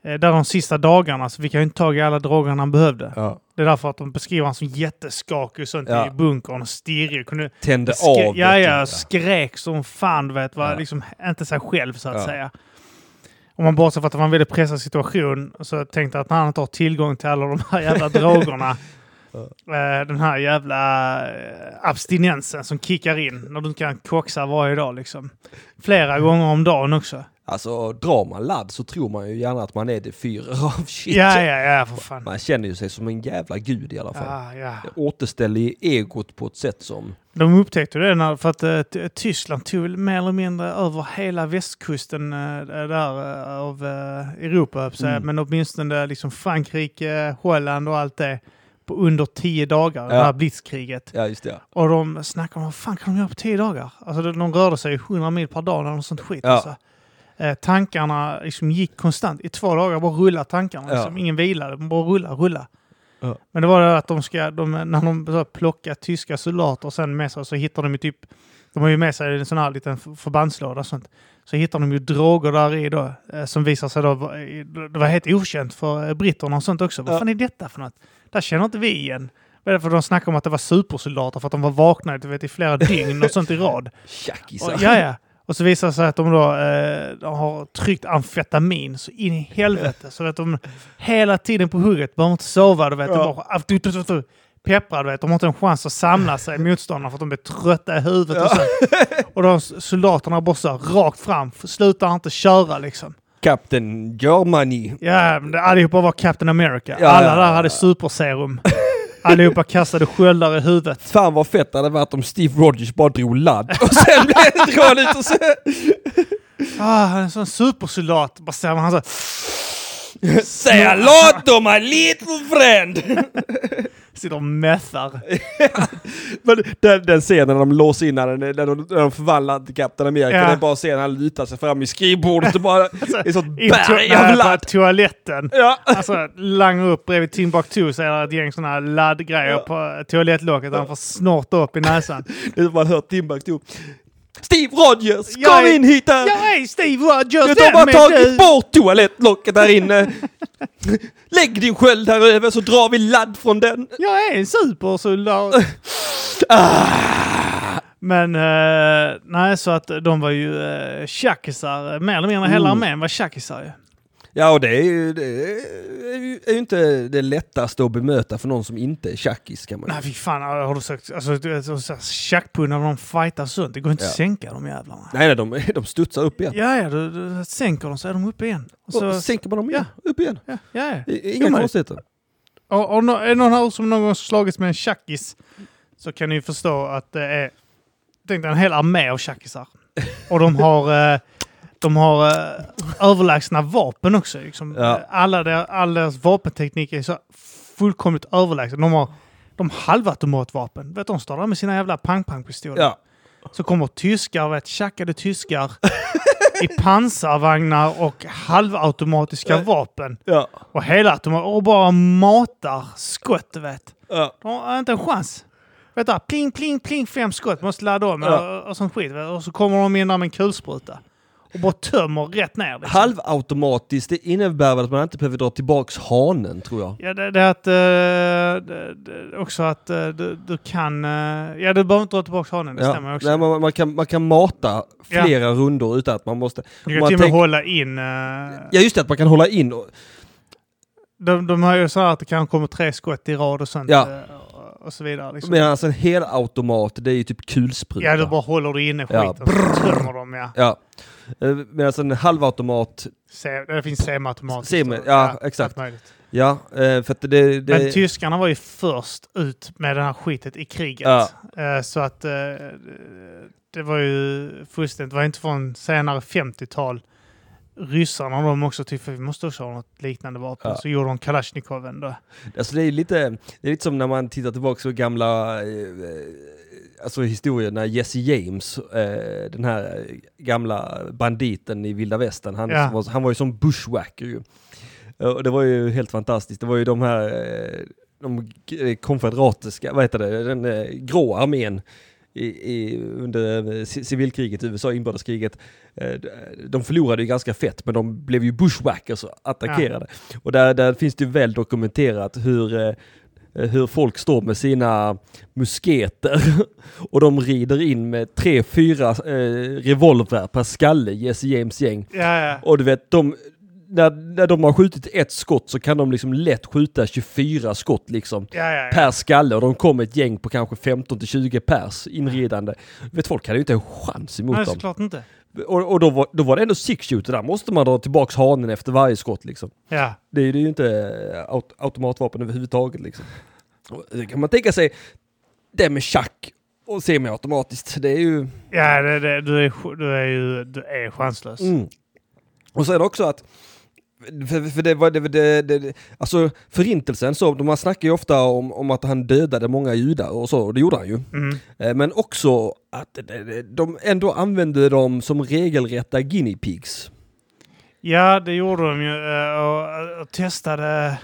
B: eh, där de sista dagarna så fick han ju inte tag i alla droger han behövde.
A: Ja.
B: Det är därför att de beskriver honom som jätteskakig och sånt
A: Ja.
B: i bunkern och stirrig. Kunde,
A: Tände
B: Skre-
A: av.
B: ja,
A: vet
B: ja,
A: du.
B: skrek som fan, du vet, var
A: Ja.
B: liksom inte sig själv så att
A: Ja.
B: säga. Om man bortser från att det var en väldigt pressad situation så tänkte jag att när han inte har tillgång till alla de här jävla drogerna, eh, den här jävla eh, abstinensen som kickar in när du inte kan koxa varje dag liksom. Flera gånger om dagen också.
A: Alltså, drar man ladd så tror man ju gärna att man är det fyra av shit.
B: Ja, ja, ja, för fan.
A: Man känner ju sig som en jävla gud i alla fall.
B: Ja, ja.
A: Det återställer ju egot på ett sätt som...
B: De upptäckte det när, för att eh, Ty- Tyskland tog väl mer eller mindre över hela västkusten eh, där eh, av eh, Europa, höll jag på att säga.
A: Mm.
B: men åtminstone där liksom Frankrike, Holland och allt det på under tio dagar, det
A: Ja.
B: här blitzkriget.
A: Ja, just det.
B: Och de snackade om vad fan kan de göra på tio dagar? Alltså de, de rörde sig 100 mil per dag eller något sånt skit.
A: Ja.
B: Alltså. Eh, tankarna liksom gick konstant. I två dagar bara rulla tankarna.
A: Ja.
B: Liksom. Ingen vilade, de bara rulla, rulla.
A: Ja.
B: Men det var det att de ska, de, när de så här plockar tyska soldater och sen med sig så hittar de ju typ, de har ju med sig en sån här liten f- förbandslåda och sånt. Så hittar de ju droger där i då, eh, som visar sig då, vara- i- det var helt okänt för eh, britterna och sånt också. Vad
A: Ja.
B: fan är detta för något? Där känner inte vi igen. Vad är det för de snackar om att det var supersoldater för att de var vakna du vet, i flera dygn och sånt i rad.
A: Tjackisar.
B: Och, ja, ja. Och så visar det sig att de då eh, de har tryckt amfetamin så in i helvete. Så att de hela tiden på hugget, behöver inte sova, du vet.
A: Ja.
B: De bara, ah, du, du, du, du. Pepprar, du vet. De har inte en chans att samla sig, motståndarna, för att de är trötta i huvudet. Och, så. och de soldaterna bara så här, rakt fram, slutar inte köra liksom.
A: Captain Germany.
B: Ja, men det- allihopa var Captain America.
A: Ja,
B: Alla
A: ja,
B: där
A: ja,
B: hade
A: ja.
B: superserum. Allihopa kastade sköldar i huvudet.
A: Fan vad fett det hade varit om Steve Rogers bara drog ladd och sen blev dragen ut och så...
B: Ah, han är en sån supersoldat. Bara ser man han så här,
A: Say hello to my little friend!
B: sitter och mäffar.
A: Men den, den scenen när de låser in honom, när de, när de förvandlar till Captain America,
B: Ja. Alltså,
A: det är bara scenen när han lutar sig fram i skrivbordet och bara... ett sånt
B: In to-
A: berg
B: nej,
A: av
B: på
A: ladd!
B: toaletten.
A: Ja.
B: Alltså, langar upp bredvid Timbuktu så är det ett gäng såna här laddgrejer på eh, toalettlocket. Han får snorta upp i näsan.
A: Det är som man hör Timbuktu. Steve Rogers, kom
B: Jag är-
A: in hit här!
B: Jag är Steve Rogers,
A: De har
B: vem är du?
A: tagit bort toalettlocket där inne! Lägg din sköld här över så drar vi ladd från den!
B: Jag är en supersoldat.
A: Ah.
B: Men eh, nej, så att de var ju eh, tjackisar. Mer eller mindre
A: Oh.
B: hela armén var tjackisar ju.
A: Ja, och det är ju, det är ju, är ju inte det lättaste att bemöta för någon som inte är tjackis kan man ju
B: Nej, fy fan. Har du sökt alltså, du vet, så- så här tjackpundar när de fightas runt? Det går inte att
A: Ja.
B: sänka de jävlarna.
A: Nej, nej, de, de studsar upp igen.
B: Ja, ja, du, du sänker dem så är de uppe igen. Och så,
A: och sänker man dem igen, upp igen.
B: ja, ja, ja.
A: I- Inga
B: Jo, men-
A: konstigheter.
B: Och, och, nå- är det någon här som någon gång slagits med en tjackis så kan ni ju förstå att det är tänk dig en hel armé av tjackisar. Och de har, eh, de har eh, överlägsna vapen också. Liksom.
A: Ja.
B: Alla, der, all deras vapenteknik är så fullkomligt överlägsen. De har de har halvautomatvapen. Vet, de står där med sina jävla pang-pang-pistoler.
A: Ja.
B: Så kommer tyskar, vet, tjackade tyskar i pansarvagnar och halvautomatiska vapen.
A: Ja.
B: Och hela att de och bara matar skott, du vet.
A: Ja.
B: De har inte en chans. Vet du, pling, pling, pling, fem skott. Måste ladda om
A: Ja.
B: och, och sånt skit. vet du. Och så kommer de in där med en kulspruta. Och bara tömmer rätt ner. Liksom.
A: Halvautomatiskt, det innebär väl att man inte behöver dra tillbaks hanen tror jag.
B: Ja, det, det är att... eh, det, det, också att eh, du, du kan... eh, ja, du behöver inte dra tillbaka hanen. Det stämmer också.
A: Nej, man, man, kan, man kan mata
B: Ja.
A: flera rundor utan att man måste...
B: du kan
A: man
B: till och med
A: tänker-
B: hålla in... eh,
A: Ja just det, att man kan hålla in och,
B: De, de har ju så här att det kan komma tre skott i rad och sånt.
A: Ja.
B: eh, och- Och så vidare. Liksom.
A: medan en helautomat det är ju typ kulspruta.
B: ja, du bara håller du inne
A: Ja.
B: skiten. så tömmer de, ja.
A: Ja. Eh, Medan en halvautomat,
B: Se, det finns semiautomatiskt.
A: Semi,
B: och-
A: ja, exakt.
B: allt möjligt.
A: ja, eh, för att det... det
B: Men tyskarna var ju först ut med det här skitet i kriget.
A: Ja.
B: Eh, Så att eh, det var ju fullständigt, det var inte från senare 50-tal. Ryssarna de också tyckte vi måste också ha något liknande vapen.
A: Ja.
B: Så gjorde de Kalashnikoven då.
A: Alltså det är lite, det är lite som när man tittar tillbaka på gamla eh, eh, alltså historien när Jesse James, eh, den här gamla banditen i vilda västern, han,
B: Ja.
A: var, han var ju som bushwhacker ju. Eh, Och det var ju helt fantastiskt. Det var ju de här eh, de g- eh, konfederatiska, vad heter det, den eh, grå armén i, i, under eh, ci- civilkriget i USA, inbördeskriget. Eh, d- De förlorade ju ganska fett, men de blev ju bushwhackers och attackerade. Och där, där finns det ju väl dokumenterat hur, eh, hur folk står med sina musketer och de rider in med tre, fyra eh, revolver per skalle, Jesse James gäng.
B: Ja, ja.
A: Och du vet, de, när, när de har skjutit ett skott så kan de liksom lätt skjuta 24 skott liksom
B: ja, ja, ja.
A: per skalle och de kom ett gäng på kanske 15 till 20 pers inridande. Du vet, folk hade ju inte en chans emot
B: Nej,
A: dem.
B: såklart inte.
A: Och, och då, var, då var det ändå six shooter, där måste man dra tillbaks hanen efter varje skott liksom.
B: Ja.
A: Det är det är ju inte eh, aut automatvapen överhuvudtaget. Liksom. Och Det kan man tänka sig det med tjack och semiautomatiskt. Det är ju...
B: Ja, det, det, du, är, ch- du är ju du är chanslös.
A: Mm. Och sen också att... För, för det var, det, det, det, alltså förintelsen, så, man snackar ju ofta om, om att han dödade många judar och så, och det gjorde han ju.
B: Mm.
A: Eh, Men också att det- det- de ändå använde dem som regelrätta guinea pigs.
B: Ja, det gjorde de ju eh, och, och testade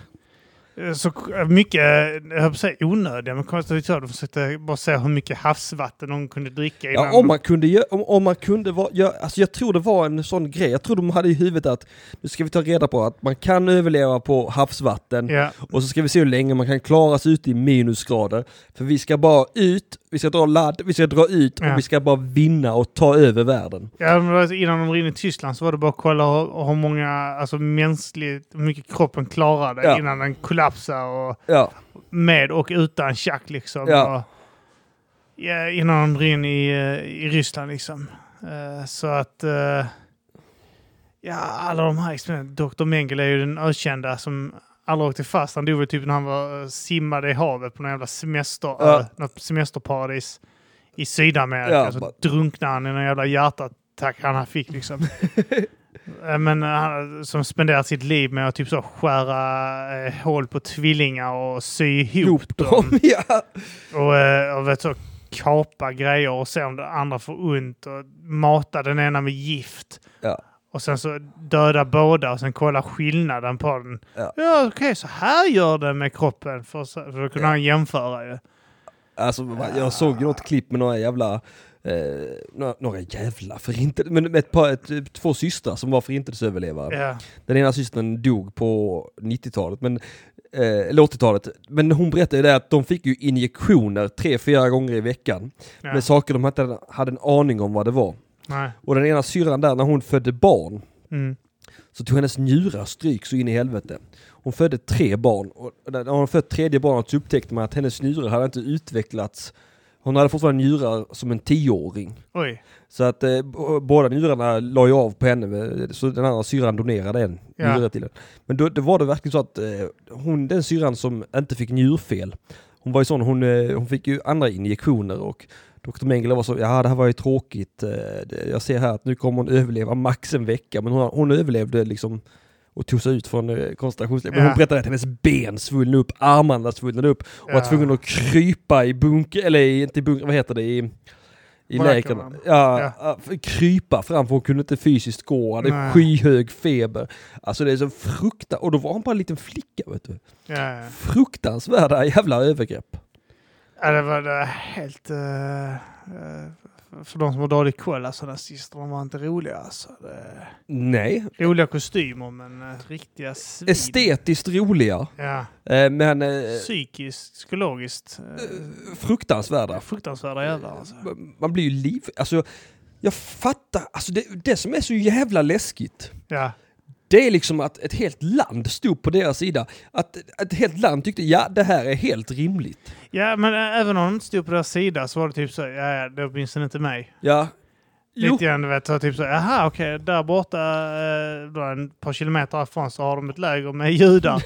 B: eh, så k- mycket, eh, jag höll på att säga onödiga, men konstruktörer de försökte bara se hur mycket havsvatten de kunde dricka innan.
A: Ja, oh om man kunde, gö- om, om man kunde vara, ja, alltså jag tror det var en sån grej, jag tror de hade i huvudet att nu ska vi ta reda på att man kan överleva på havsvatten
B: Ja,
A: och så ska vi se hur länge man kan klara sig ute i minusgrader. För vi ska bara ut, vi ska dra ladd, vi ska dra ut
B: Ja.
A: och vi ska bara vinna och ta över världen.
B: ja men det var innan de var inne i Tyskland så var det bara att kolla hur, hur många, alltså mänskligt, hur mycket kroppen klarade
A: Ja.
B: innan den kollapsade och
A: Ja,
B: med och utan tjack liksom.
A: Ja.
B: Och, ja, innan de rinner i, eh, i Ryssland liksom. Eh, så att... eh, ja, alla de här experimenten. Dr. Mengele är ju den ökända som aldrig åkte fast. Han dog väl typ när han var, eh, simmade i havet på någon jävla semester,
A: Ja.
B: ö, något semesterparadis i Sydamerika.
A: Ja,
B: så
A: bara-
B: drunknade han i någon jävla hjärtattack han fick liksom. Eh, Men han som spenderat sitt liv med att typ så skära eh, hål på tvillingar och sy ihop dem.
A: de, ja.
B: Och, eh, och vet så, kapa grejer och se om det andra får ont och mata den ena med gift.
A: Ja.
B: Och sen så döda båda och sen kolla skillnaden på den.
A: Ja.
B: okej, så här gör den med kroppen. För, så, för då kunde han jämföra ju.
A: Alltså, va- jag såg ju något klipp med några jävla, eh, några, några jävla förintelse, men med ett par, ett, två systrar som var förintelseöverlevare.
B: Ja.
A: Den ena systern dog på 90-talet, men, eh, eller 80-talet. Men hon berättade ju det att de fick ju injektioner tre, fyra gånger i veckan.
B: Ja.
A: Med saker de inte hade en aning om vad det var.
B: Nej.
A: Och den ena syrran där, när hon födde barn,
B: Mm.
A: så tog hennes njurar stryk så in i helvete. Hon födde tre barn och när hon fött tredje barnet så upptäckte man att hennes njurar hade inte utvecklats. Hon hade fortfarande njurar som en tioåring.
B: Oj.
A: Så att eh, b- båda njurarna la ju av på henne, eh, så den andra syrran donerade en
B: Ja.
A: njure till henne. Men då, då var det verkligen så att eh, hon, den syrran som inte fick njurfel, hon var ju sån, hon, eh, hon fick ju andra injektioner och Dr. Mengele var så, ja det här var ju tråkigt, eh, det- jag ser här att nu kommer hon överleva max en vecka, men hon, hon överlevde liksom och tog sig ut från eh, koncentrationslägret. Men
B: Ja.
A: Hon berättade att hennes ben svullnade upp, armarna svullnade upp och var
B: Ja.
A: tvungen att krypa i bunker, eller i- inte i bunker, vad heter det, i, i lägren.
B: Baracken, va?
A: Ja, ja. Krypa fram för hon kunde inte fysiskt gå, hon hade
B: Nej.
A: skyhög feber. Alltså det är så fruktansvärt, och då var hon bara en liten flicka vet du.
B: Ja, ja.
A: Fruktansvärda jävla övergrepp.
B: Ja, det var det var helt... eh, eh, för de som har dålig koll, alltså nazisterna var inte roliga. Alltså. Det,
A: Nej,
B: roliga kostymer, men eh, riktiga svin.
A: estetiskt roliga,
B: Ja,
A: eh, men eh,
B: psykiskt, psykologiskt. Eh,
A: fruktansvärda.
B: fruktansvärda jävlar alltså.
A: Man blir ju liv... Alltså, jag fattar. Alltså det, det som är så jävla läskigt,
B: Ja,
A: det är liksom att ett helt land stod på deras sida. Att ett helt land tyckte, ja det här är helt rimligt.
B: ja men ä- även om de inte stod på deras sida så var det typ så, ja, ja det är åtminstone inte mig.
A: Ja. Jo,
B: Lite grann du vet, så typ så, jaha okej, där borta, eh, då en par kilometer härifrån så har de ett läger med judar.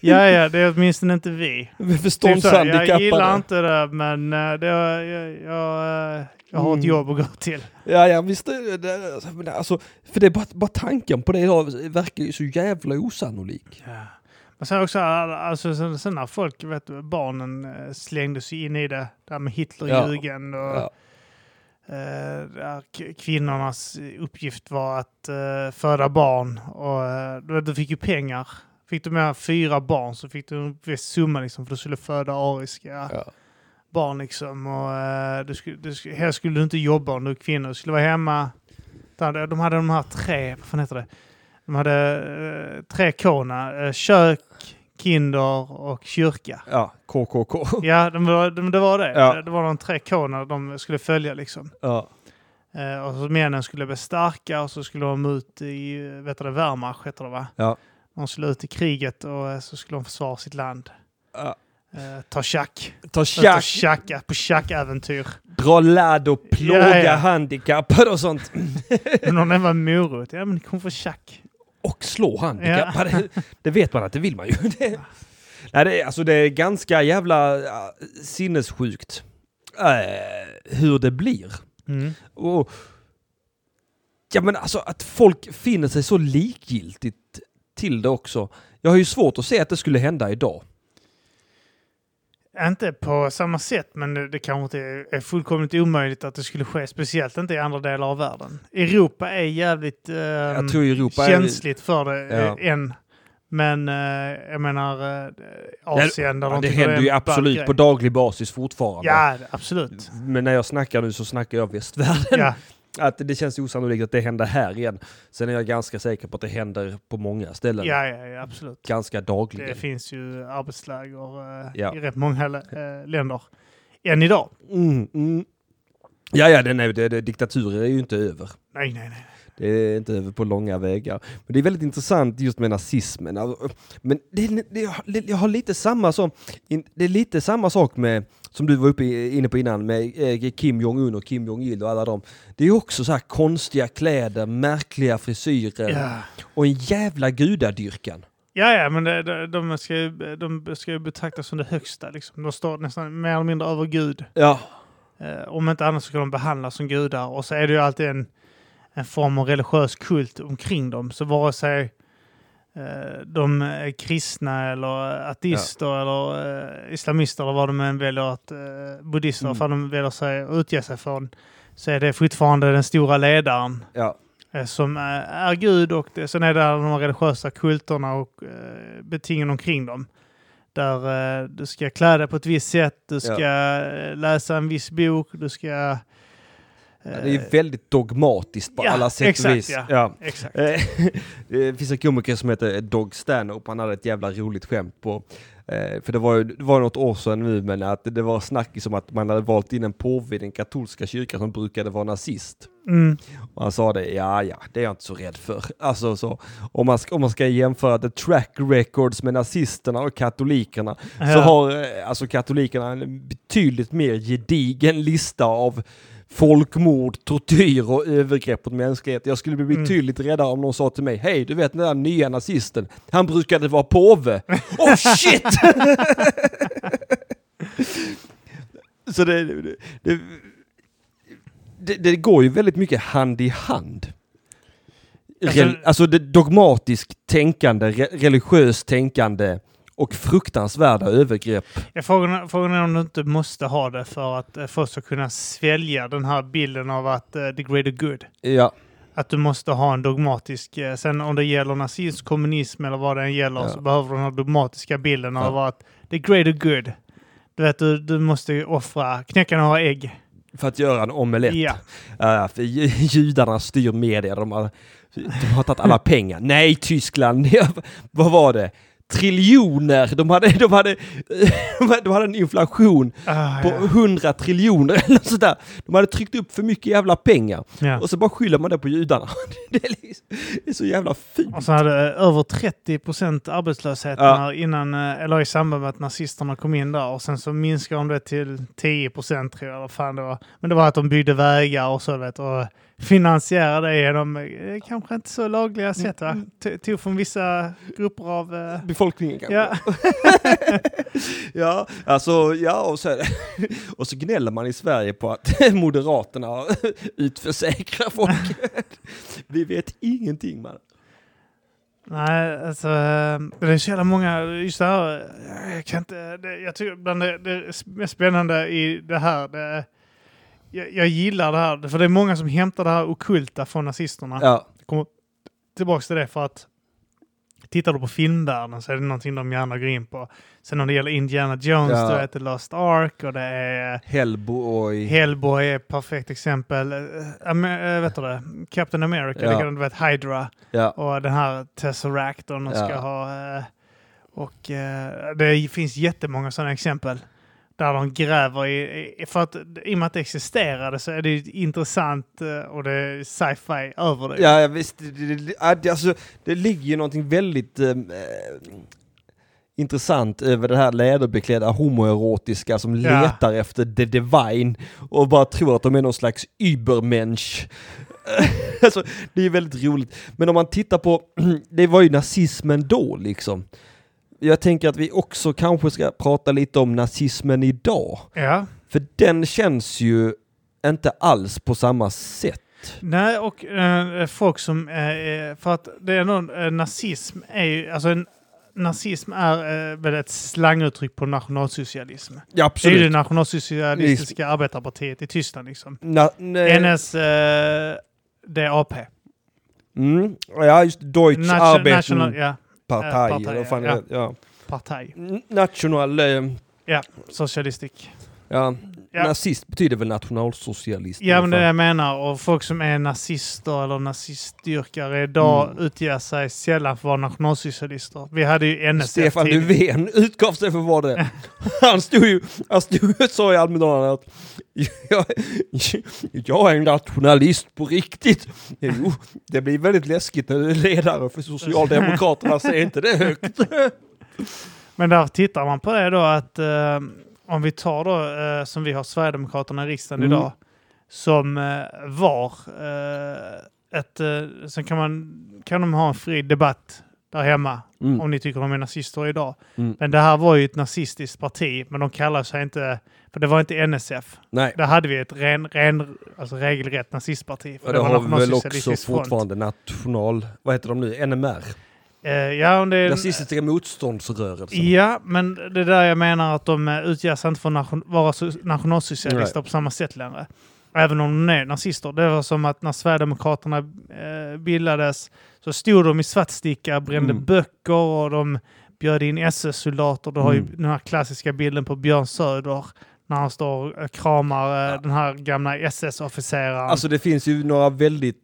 B: ja, ja, det är åtminstone inte vi. Typ så, jag gillar
A: förståndshandikappade.
B: inte det, men eh, det, jag, jag, eh, jag har ett
A: Mm.
B: jobb att gå till.
A: Ja, ja visst. Det, det, men alltså, för det är bara, bara tanken på det idag verkar ju så jävla osannolik.
B: Men sen också, alltså, sen, sen när folk, vet du, barnen eh, slängde sig in i det där med Hitlerjugend och
A: Ja.
B: eh, där k- kvinnornas uppgift var att eh, föda barn. Och eh, du, vet, du fick ju pengar. Fick du med fyra barn så fick du en viss summa liksom för du skulle föda ariska
A: Ja.
B: barn liksom. Och eh, du skulle, du skulle, här skulle du inte jobba om du är kvinna. Du skulle vara hemma. Där hade- De hade de här tre, vad fan heter det? De hade eh, tre korna. Eh, kök, kinder och kyrka.
A: ja, KKK.
B: Ja, de var, de, det var det.
A: Oh. Ja.
B: Det var de tre korna de skulle följa liksom.
A: Ja.
B: Eh, och så männen skulle bli starka och så skulle de ut i, eh, vet du det, Wehrmacht heter det va?
A: Ja.
B: De skulle ut i kriget och eh, så skulle de försvara sitt land.
A: Ja.
B: Eh, ta tjack.
A: Ta
B: Ut och
A: tjack,
B: tjacka på tjackäventyr.
A: dra ladd och plåga
B: Ja, ja.
A: handikappade och sånt.
B: Men om den var morot, ja men ni kommer få tjack.
A: Och slå handikappade. Det vet man att det vill man ju. Det, nej, det, är- alltså, det är ganska jävla ja, sinnessjukt eh, hur det blir.
B: Mm.
A: Och, ja men alltså att folk finner sig så likgiltigt till det också. Jag har ju svårt att se att det skulle hända idag.
B: Inte på samma sätt, men det, det kanske inte är fullkomligt omöjligt att det skulle ske. Speciellt inte i andra delar av världen. Europa är jävligt ehm,
A: jag tror ju Europa är-
B: känsligt för det eh,
A: Ja.
B: än. Men eh, jag menar eh, Asien där
A: Ja,
B: de
A: det
B: tycker är
A: händer ju
B: en ball
A: absolut
B: grej.
A: på daglig basis fortfarande.
B: Ja, absolut.
A: Men när jag snackar nu så snackar jag västvärlden.
B: Ja.
A: Att det känns osannolikt att det händer här igen. Sen är jag ganska säker på att det händer på många ställen.
B: Ja, ja, ja, absolut.
A: Ganska
B: Det
A: dagligen.
B: finns ju arbetsläger eh,
A: Ja.
B: i rätt många lä- eh, länder än idag.
A: Mm, mm. Ja, ja, den är, det, det, diktaturer är ju inte över.
B: Nej, nej, nej.
A: Det är inte över på långa vägar. Men det är väldigt intressant just med nazismen. Alltså, Men det, det, det, jag har lite samma som, in- det är lite samma sak med, som du var uppe i- inne på innan, med eh, Kim Jong-Un och Kim Jong-Il och alla dem. Det är ju också så här konstiga kläder, märkliga frisyrer
B: Ja.
A: och en jävla gudadyrkan.
B: Ja, ja, men det, de, de, ska ju, de ska ju betraktas som det högsta. Liksom. De står nästan mer eller mindre över Gud.
A: Ja,
B: Eh, om inte annat så ska de behandlas som gudar. Och så är det ju alltid en, en form av religiös kult omkring dem. Så vare sig eh, de är kristna eller ateister eller eh, islamister eller vad de än väljer att... Eh, buddister,
A: Mm.
B: mm. de väljer sig att utge sig från. Så är det fortfarande den stora ledaren
A: ja,
B: eh, som eh, är Gud och det, sen är det alla de religiösa kulterna och eh, betingen omkring dem. Där eh, du ska klä dig på ett visst sätt, du ska eh, läsa en viss bok, du ska... Eh,
A: Ja, det är ju väldigt dogmatiskt på
B: ja,
A: alla sätt
B: exakt,
A: och vis.
B: ja.
A: Ja.
B: Exakt.
A: Eh, det finns en komiker som heter Dog Stanhope, han hade ett jävla roligt skämt på, eh, för det var ju det var något år sedan nu, men att det var snackis om att man hade valt in en påve i den katolska kyrkan som brukade vara nazist.
B: Mm.
A: Och han sa det, ja ja, det är jag inte så rädd för. Alltså så, om man ska, om man ska jämföra the track records med nazisterna och katolikerna, så
B: Ja.
A: har eh, alltså katolikerna en betydligt mer gedigen lista av folkmord, tortyr och övergrepp mot mänskligheten. Jag skulle bli
B: Mm.
A: betydligt räddare om någon sa till mig, hej du vet den där nya nazisten, han brukade vara påve. oh shit! så det, det, det, det, det går ju väldigt mycket hand i hand.
B: Alltså-
A: Rel, alltså det dogmatiskt tänkande, re, religiöst tänkande och fruktansvärda övergrepp.
B: Ja, frågan, frågan är om du inte måste ha det för att eh, folk ska kunna svälja den här bilden av att eh, the greater good.
A: Ja,
B: Att du måste ha en dogmatisk... eh, Sen om det gäller nazism, kommunism eller vad det än gäller
A: Ja.
B: så behöver du den här dogmatiska bilden
A: Ja.
B: av att the greater good. Du vet, du, du måste ju offra, knäcka några ägg.
A: För att göra en omelett.
B: Ja.
A: Ja, för ju- judarna styr media. De har, de har tagit alla pengar. Nej, Tyskland. Ja, Vad var det? Triljoner. De hade, de hade, de hade- de hade en inflation
B: Ah,
A: på 100 triljoner eller något sånt där. De hade tryckt upp för mycket jävla pengar.
B: ja. ja.
A: Och så bara skyller man det på judarna. Det är, liksom, det är så jävla fint.
B: Och så hade eh, över 30 procent arbetslöshet
A: Ja.
B: när, innan, eh, eller i samband med att nazisterna kom in där. Och sen så minskade de det till 10 procent tror jag. Eller fan det var. Men det var att de byggde vägar och så du vet. Och finansierade det genom eh, kanske inte så lagliga sätt va? T- Tog från vissa grupper av... eh,
A: Befolkningen kanske.
B: Ja,
A: Ja, alltså, ja, och så, och så gnäller man i Sverige på att Moderaterna utförsäkrar folk. Vi vet ingenting man.
B: nej alltså. eh, Det är så jävla många, just det här. eh, Jag kan inte, det, jag tycker bland det, det mest spännande i det här. Det, jag, jag gillar det här, för det är många som hämtar det här okulta från nazisterna.
A: Ja,
B: tillbaka till det för att tittar du på filmvärlden så är det någonting de gärna går in på. Sen om det gäller Indiana Jones,
A: Ja.
B: då är det Lost Ark och det är eh,
A: Hellboy.
B: Hellboy är ett perfekt exempel. Eh, Am- eh, vet du det? Captain America,
A: Ja.
B: det kan du vet Hydra
A: Ja,
B: och den här Tesseractorn de
A: Ja.
B: ska ha. eh, Och eh, det finns jättemånga sådana exempel. Där de gräver i, i- för att i och med att det existerade så är det ju intressant eh, och det är sci-fi över det.
A: ja ja, visst. Det, det- det, ja, det- alltså, det ligger ju någonting väldigt eh, eh, intressant över det här läderbeklädda homoerotiska som
B: Ja.
A: letar efter the divine och bara tror att de är någon slags übermensch. alltså, det är väldigt roligt. Men om man tittar på, det var ju nazismen då liksom. Jag tänker att vi också kanske ska prata lite om nazismen idag.
B: ja.
A: För den känns ju inte alls på samma sätt.
B: Nej, och eh, folk som... Eh, för att det är någon, eh, nazism är ju... Alltså en, nazism är eh, väl ett slanguttryck på nationalsocialism.
A: Ja,
B: Det är ju
A: absolut.
B: det nationalsocialistiska arbetarpartiet i Tyskland liksom. eh,
A: Na, nej.
B: NSDAP.
A: Mm. Ja, just Deutsch
B: Nation, national,
A: Arbeitenpartei.
B: ja, eh,
A: Partei,
B: parti,
A: eller vad fan
B: ja.
A: det är. Ja.
B: partaj.
A: N- National... eh,
B: Socialistik.
A: Ja.
B: Ja.
A: Nazist betyder väl nationalsocialist?
B: Ja, men det är det
A: ungefär.
B: jag menar. Och folk som är nazister eller nazistdyrkare idag
A: Mm.
B: utger sig sällan för att vara nationalsocialister. Vi hade ju NSF
A: Stefan
B: tidigare.
A: Löfven utgav sig för vad det är. Han stod ju han stod ju och sa i Almedalen att jag, jag är en nationalist på riktigt. Jo, det blir väldigt läskigt när du är ledare för Socialdemokraterna säger inte det högt.
B: Men där tittar man på det då att eh, om vi tar då eh, som vi har Sverigedemokraterna i riksdagen
A: Mm.
B: idag som eh, var eh, ett, eh, sen kan man kan de ha en fri debatt där hemma om ni tycker de är nazister idag.
A: Mm.
B: Men det här var ju ett nazistiskt parti, men de kallar sig inte, för det var inte NSF.
A: Nej.
B: Där hade vi ett ren, ren, alltså regelrätt nazistparti. För
A: Ja, det har vi väl också
B: nationalsocialistisk front.
A: fortfarande national... Vad heter de nu? NMR?
B: Eh, ja, om det är en-
A: Nazistiska motståndsrörelsen.
B: Ja, men det är där jag menar att de eh, utger sig inte för att nation- vara so- nationalsocialister
A: Nej.
B: på samma sätt längre. Även om de är nazister. Det var som att när Sverigedemokraterna eh, bildades så stod de i svartsticka, brände
A: Mm.
B: böcker och de bjöd in SS-soldater. Du har ju
A: Mm.
B: den här klassiska bilden på Björn Söder när han står och kramar eh, den här gamla SS-officeraren.
A: Alltså det finns ju några väldigt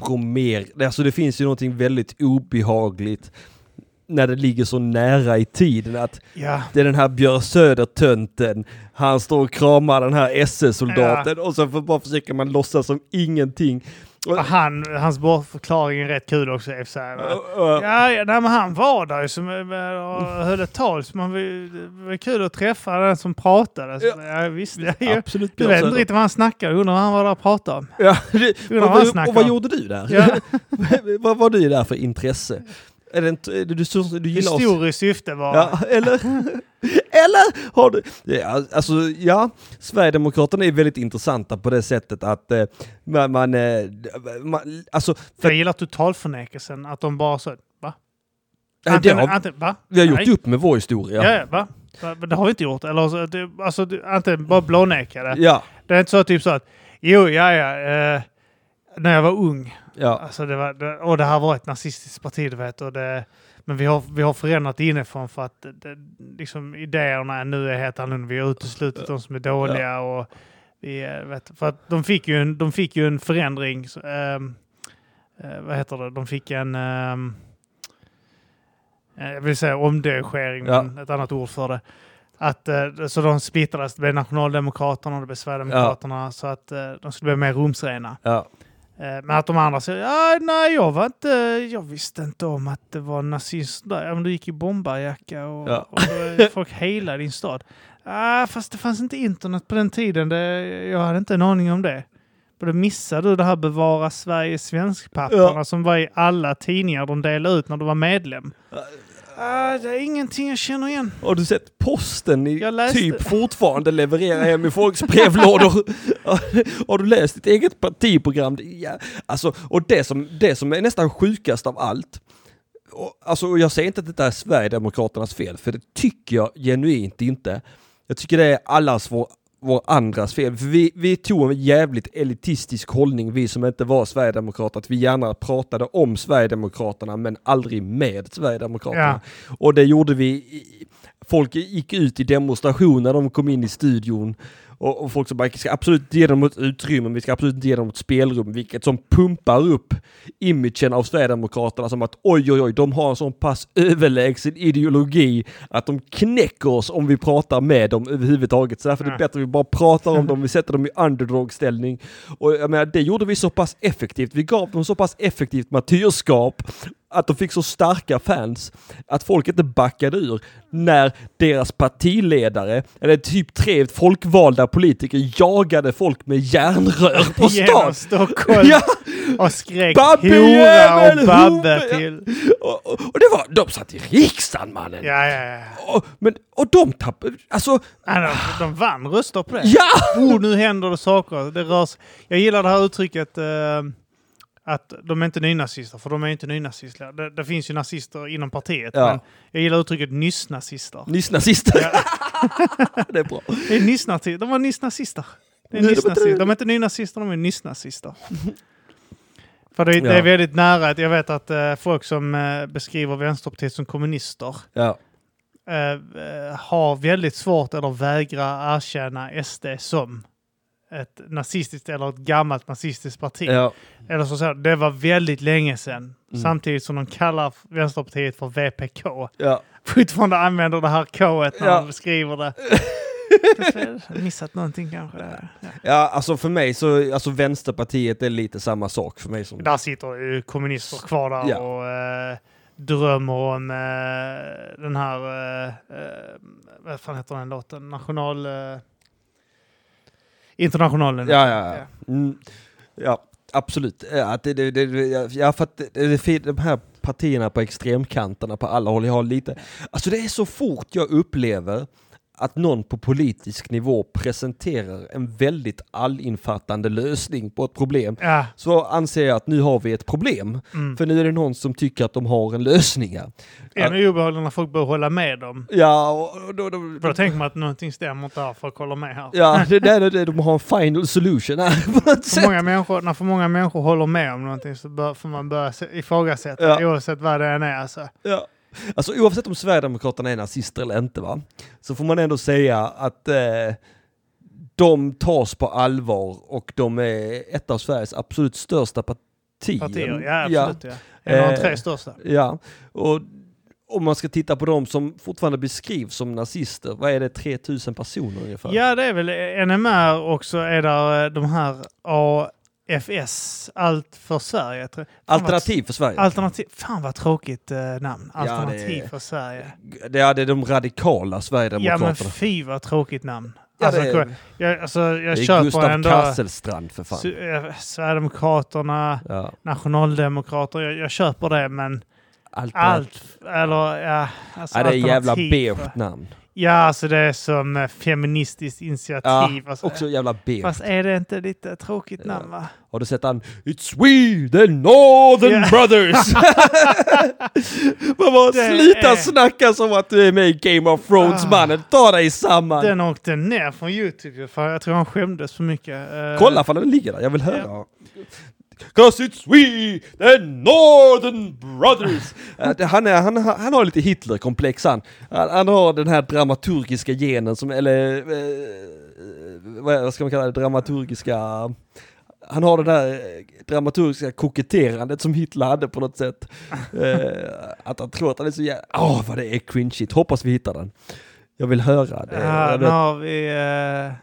A: kompromer... Alltså det finns ju någonting väldigt obehagligt när det ligger så nära i tiden att
B: ja.
A: det är den här Björn Söder-tönten, han står och kramar den här SS-soldaten och så för, bara försöker man låtsas som ingenting. Och,
B: Och Han, hans bortförklaring är rätt kul också i och för sig. va?
A: och- och-
B: Ja, ja nej, men han var där ju som eh, och höll ett tal. Så man, vill- det var kul att träffa den som pratade. Så,
A: Ja.
B: ja, visst, ja, ja.
A: Absolut
B: Du
A: Björn
B: vet inte
A: Söder.
B: riktigt vad han snackar. Undrar vad han var där och pratade om.
A: Ja, det,
B: Undrar
A: och,
B: vad han
A: vad,
B: snackar
A: och vad
B: om.
A: gjorde du där?
B: Ja.
A: vad var du där för intresse? Är det inte, är det, du, du, du gillar oss?
B: Historiskt syfte var...
A: Ja, eller? eller har du... Ja, alltså, ja. Sverigedemokraterna är väldigt intressanta på det sättet att eh, man... man, eh, man alltså,
B: Jag gillar totalförnekelsen. Att de bara så... Va?
A: eh, det
B: Antingen-
A: har,
B: antingen- va?
A: vi har gjort
B: Nej.
A: upp med vår
B: Ja.
A: historia.
B: ja, va? Va? Men Det har vi inte gjort. Eller så, det, alltså, det, antingen bara blånekade.
A: Ja,
B: Det är inte så typ så att... Jo, ja, ja. Eh, när jag var ung.
A: ja.
B: Alltså det var, det, och det här var ett nazistiskt parti, du vet. Och det, men Men vi har, vi har förändrat det inifrån för att det, liksom, idéerna nu är helt annorlunda. Vi har uteslutit de som är dåliga. Och vi, eh, vet, för att de fick ju en, de fick ju en förändring. så, ehm, eh, vad heter det? De fick en... ehm, eh, jag vill säga omdirigering,
A: Ja.
B: men ett annat ord för det. Att, eh, så de splittrades. Det blev Nationaldemokraterna och det blev Sverigedemokraterna. Så att eh, de skulle bli mer rumsrena.
A: Ja.
B: Eh, Men att de andra säger ja, nej, jag var inte, jag visste inte om att det var nazister där. Ja, men du gick i bombarjacka och,
A: Ja.
B: och då är folk hela din stad. Ah, fast det fanns inte internet på den tiden. Det, jag hade inte en aning om det. Och då missade du det här Bevara Sverige svensk-papperna
A: Ja.
B: som var i alla tidningar de delade ut när du var medlem. Ah, det är ingenting jag känner igen.
A: Har du sett posten i
B: Jag läste-
A: typ fortfarande levererar hem i folks brevlådor? Har du läst ditt eget partiprogram? Det- Ja. Alltså, och det som, det som är nästan sjukast av allt, och, alltså, och jag säger inte att detta är Sverigedemokraternas fel, för det tycker jag genuint inte. Jag tycker det är allas vår, vår andras fel. För vi, vi tog en jävligt elitistisk hållning, vi som inte var Sverigedemokrater, att vi gärna pratade om Sverigedemokraterna men aldrig med Sverigedemokraterna.
B: Ja.
A: Och det gjorde vi. i- Folk gick ut i demonstration när de kom in i studion. Och, och folk som bara, "Vi ska absolut inte ge dem ett utrymme, vi ska absolut inte ge dem ett spelrum, vilket som pumpar upp imagen av Sverigedemokraterna som att oj, oj, oj, de har en sån pass överlägsen ideologi att de knäcker oss om vi pratar med dem överhuvudtaget. Så därför är det
B: Ja.
A: bättre att vi bara pratar om dem, vi sätter dem i underdog-ställning. Och jag menar, det gjorde vi så pass effektivt. Vi gav dem så pass effektivt martyrskap att de fick så starka fans att folk inte backade ur när deras partiledare, eller typ tre folkvalda politiker, jagade folk med järnrör på
B: Genom
A: stan.
B: Stockholm
A: Ja,
B: och skrek hora
A: Babbejävel,
B: och babbe
A: hora."
B: till.
A: och, och, och det var, de satt i riksdagen mannen!
B: Ja, ja, ja.
A: Och, men, och de tappade, alltså,
B: Nej, de, de vann röster på det.
A: ja!
B: Oh, nu händer det saker. Det rör sig. Jag gillar det här uttrycket eh, att de är inte nynazister, för de är inte nynazister. Det, det finns ju nazister inom partiet,
A: Ja.
B: men jag gillar uttrycket nyssnazister.
A: Nyss-nazister. det är bra.
B: Det är nyssnazister. De var nyssnazister. Det är
A: Nu är det
B: nyssnazister.
A: betyg.
B: De är inte nynazister, de är nyssnazister. För det, är- det
A: Ja.
B: är väldigt nära att jag vet att eh, folk som eh, beskriver Vänsterpartiet som kommunister
A: Ja.
B: eh, eh, har väldigt svårt eller vägrar erkänna SD som ett nazistiskt eller ett gammalt nazistiskt parti.
A: Ja. Mm.
B: Eller så säger de, det var väldigt länge sedan. Samtidigt som de kallar Vänsterpartiet för VPK.
A: ja.
B: Fortfarande använder det här K-et när
A: Ja.
B: de beskriver det. Jag har Missat någonting kanske. Ja.
A: Ja, alltså för mig så, alltså Vänsterpartiet är lite samma sak för mig som...
B: Där sitter ju kommunister kvar där
A: Ja.
B: och eh, drömmer om eh, den här, eh, eh, vad fan heter den låten, national... Eh, internationalen.
A: Ja, ja, ja. Mm, ja absolut. Ja, att det, det, det, ja, för att det, det, det, de här partierna på extremkanterna på alla håll, jag har lite... Alltså det är så fort jag upplever att någon på politisk nivå presenterar en väldigt allinfattande lösning på ett problem
B: Ja,
A: så anser jag att nu har vi ett problem.
B: Mm.
A: För nu är det någon som tycker att de har en lösning. här.
B: ännu obehagligare när folk börjar hålla med dem.
A: Ja, och och då, då,
B: För då tänker man att någonting stämmer inte här, folk håller med här.
A: Ja, det där är det de har en final solution här på något
B: För
A: sätt.
B: många människor, när för många människor håller med om någonting så bör, får man börja se- ifrågasätta
A: Ja.
B: oavsett vad det än är. Alltså.
A: Ja. Alltså oavsett om Sverigedemokraterna är nazister eller inte va, så får man ändå säga att eh, de tas på allvar och de är ett av Sveriges absolut största partier.
B: Partier, ja absolut. Ja. En av
A: Eh,
B: de tre största.
A: Ja, ja. och om man ska titta på de som fortfarande beskrivs som nazister, vad är det, 3000 personer ungefär?
B: Ja, det är väl NMR och så är där eh, de här AFS, Allt för Sverige. tror jag. Fan,
A: Alternativ för Sverige?
B: vad- Alternativ. Fan vad tråkigt eh, namn.
A: Ja, det är-
B: Alternativ för Sverige.
A: det är det är de radikala
B: Ja men
A: Sverigedemokraterna.
B: fy vad tråkigt namn.
A: Ja,
B: Alltså,
A: det är-
B: kolla, jag, alltså, jag
A: det är
B: köper
A: Gustav
B: ändå
A: Kasselstrand för fan.
B: Su- eh, Sverigedemokraterna,
A: Ja.
B: Nationaldemokrater. Jag, jag köper det men
A: Alternativ.
B: allt, eller ja. Alltså,
A: Ja, det är jävla
B: alternativ
A: beige
B: för-
A: namn.
B: Ja, alltså det är som eh, feministiskt initiativ. alltså,
A: också jävla beige.
B: Fast är det inte lite tråkigt namn va?
A: Har du sett han? It's we, the Northern
B: Ja.
A: Brothers! Man bara,
B: Det
A: sluta
B: är-
A: snacka som att du är med i Game of Thrones
B: Ah.
A: mannen, ta dig samman!
B: Den åkte ner från Youtube för jag tror han skämdes för mycket. Eh,
A: Kolla ifall den ligger där, jag vill höra. Cause it's we, the Northern Brothers. Eh, det- han, är, han, har- han har lite Hitler-komplex han. han. Han har den här dramaturgiska genen som, eller eh, vad vad ska man kalla det, dramaturgiska... Han har det där eh, dramaturgiska koketterandet som Hitler hade på något sätt. Eh, att han tror att han är så jävla... Åh, vad det är cringeigt. Hoppas vi hittar den. Jag vill höra det. Jag
B: Han
A: vet-
B: har vi... eh,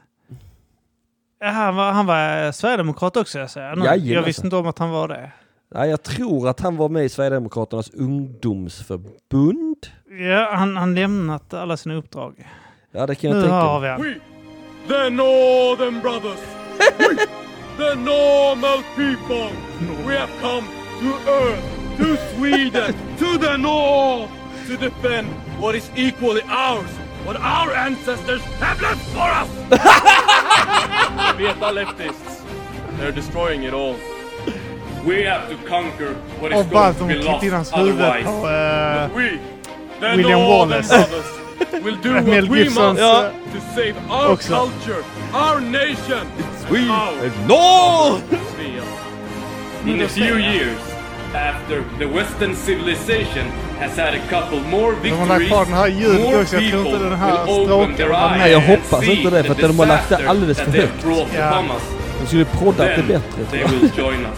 B: ja, han, var, han var eh, sverigedemokrat också, jag säger. Nu, jag
A: Jajamensan.
B: visste inte om att han var det.
A: Nej, jag tror att han var med i Sverigedemokraternas ungdomsförbund.
B: Ja, han, han lämnat alla sina uppdrag.
A: Ja, det kan jag
B: Nu
A: tänka
B: har
A: mig.
B: vi han.
D: We, the Northern Brothers, we, the normal people, we have come to Earth, to Sweden, to the North, to defend what is equally ours, what our ancestors have left for us. Beta leftists, they're destroying it all. We have to conquer what
B: Och
D: is
B: bara
D: going
B: att
D: to
B: de
D: be
B: klippt in
D: lost
B: hans huvud
D: otherwise.
B: på... eh,
D: We, the
B: William
D: Northern
B: Wallace.
D: Brothers, will do
B: Mel
D: what we
B: Gibsons,
D: must
B: ja.
D: to save our
B: Också.
D: culture, our nation, and our
A: No!
D: sphere. In a few years, after the Western civilization has had a couple more
B: har lagt
D: victories,
B: kvar den här ljudet
D: more
B: också. Jag tror inte
D: people
B: den här
D: will open
B: stråken
D: their
B: var med.
D: eyes
A: Nej, jag
D: and
A: hoppas
D: see
A: inte det, för
D: the
A: att de har lagt det
D: disaster
A: alldeles för
D: that they've
A: högt.
D: brought
B: Ja.
D: upon us.
A: De skulle proddat det
D: Then
A: bättre. tror
D: they
A: jag.
D: will join us.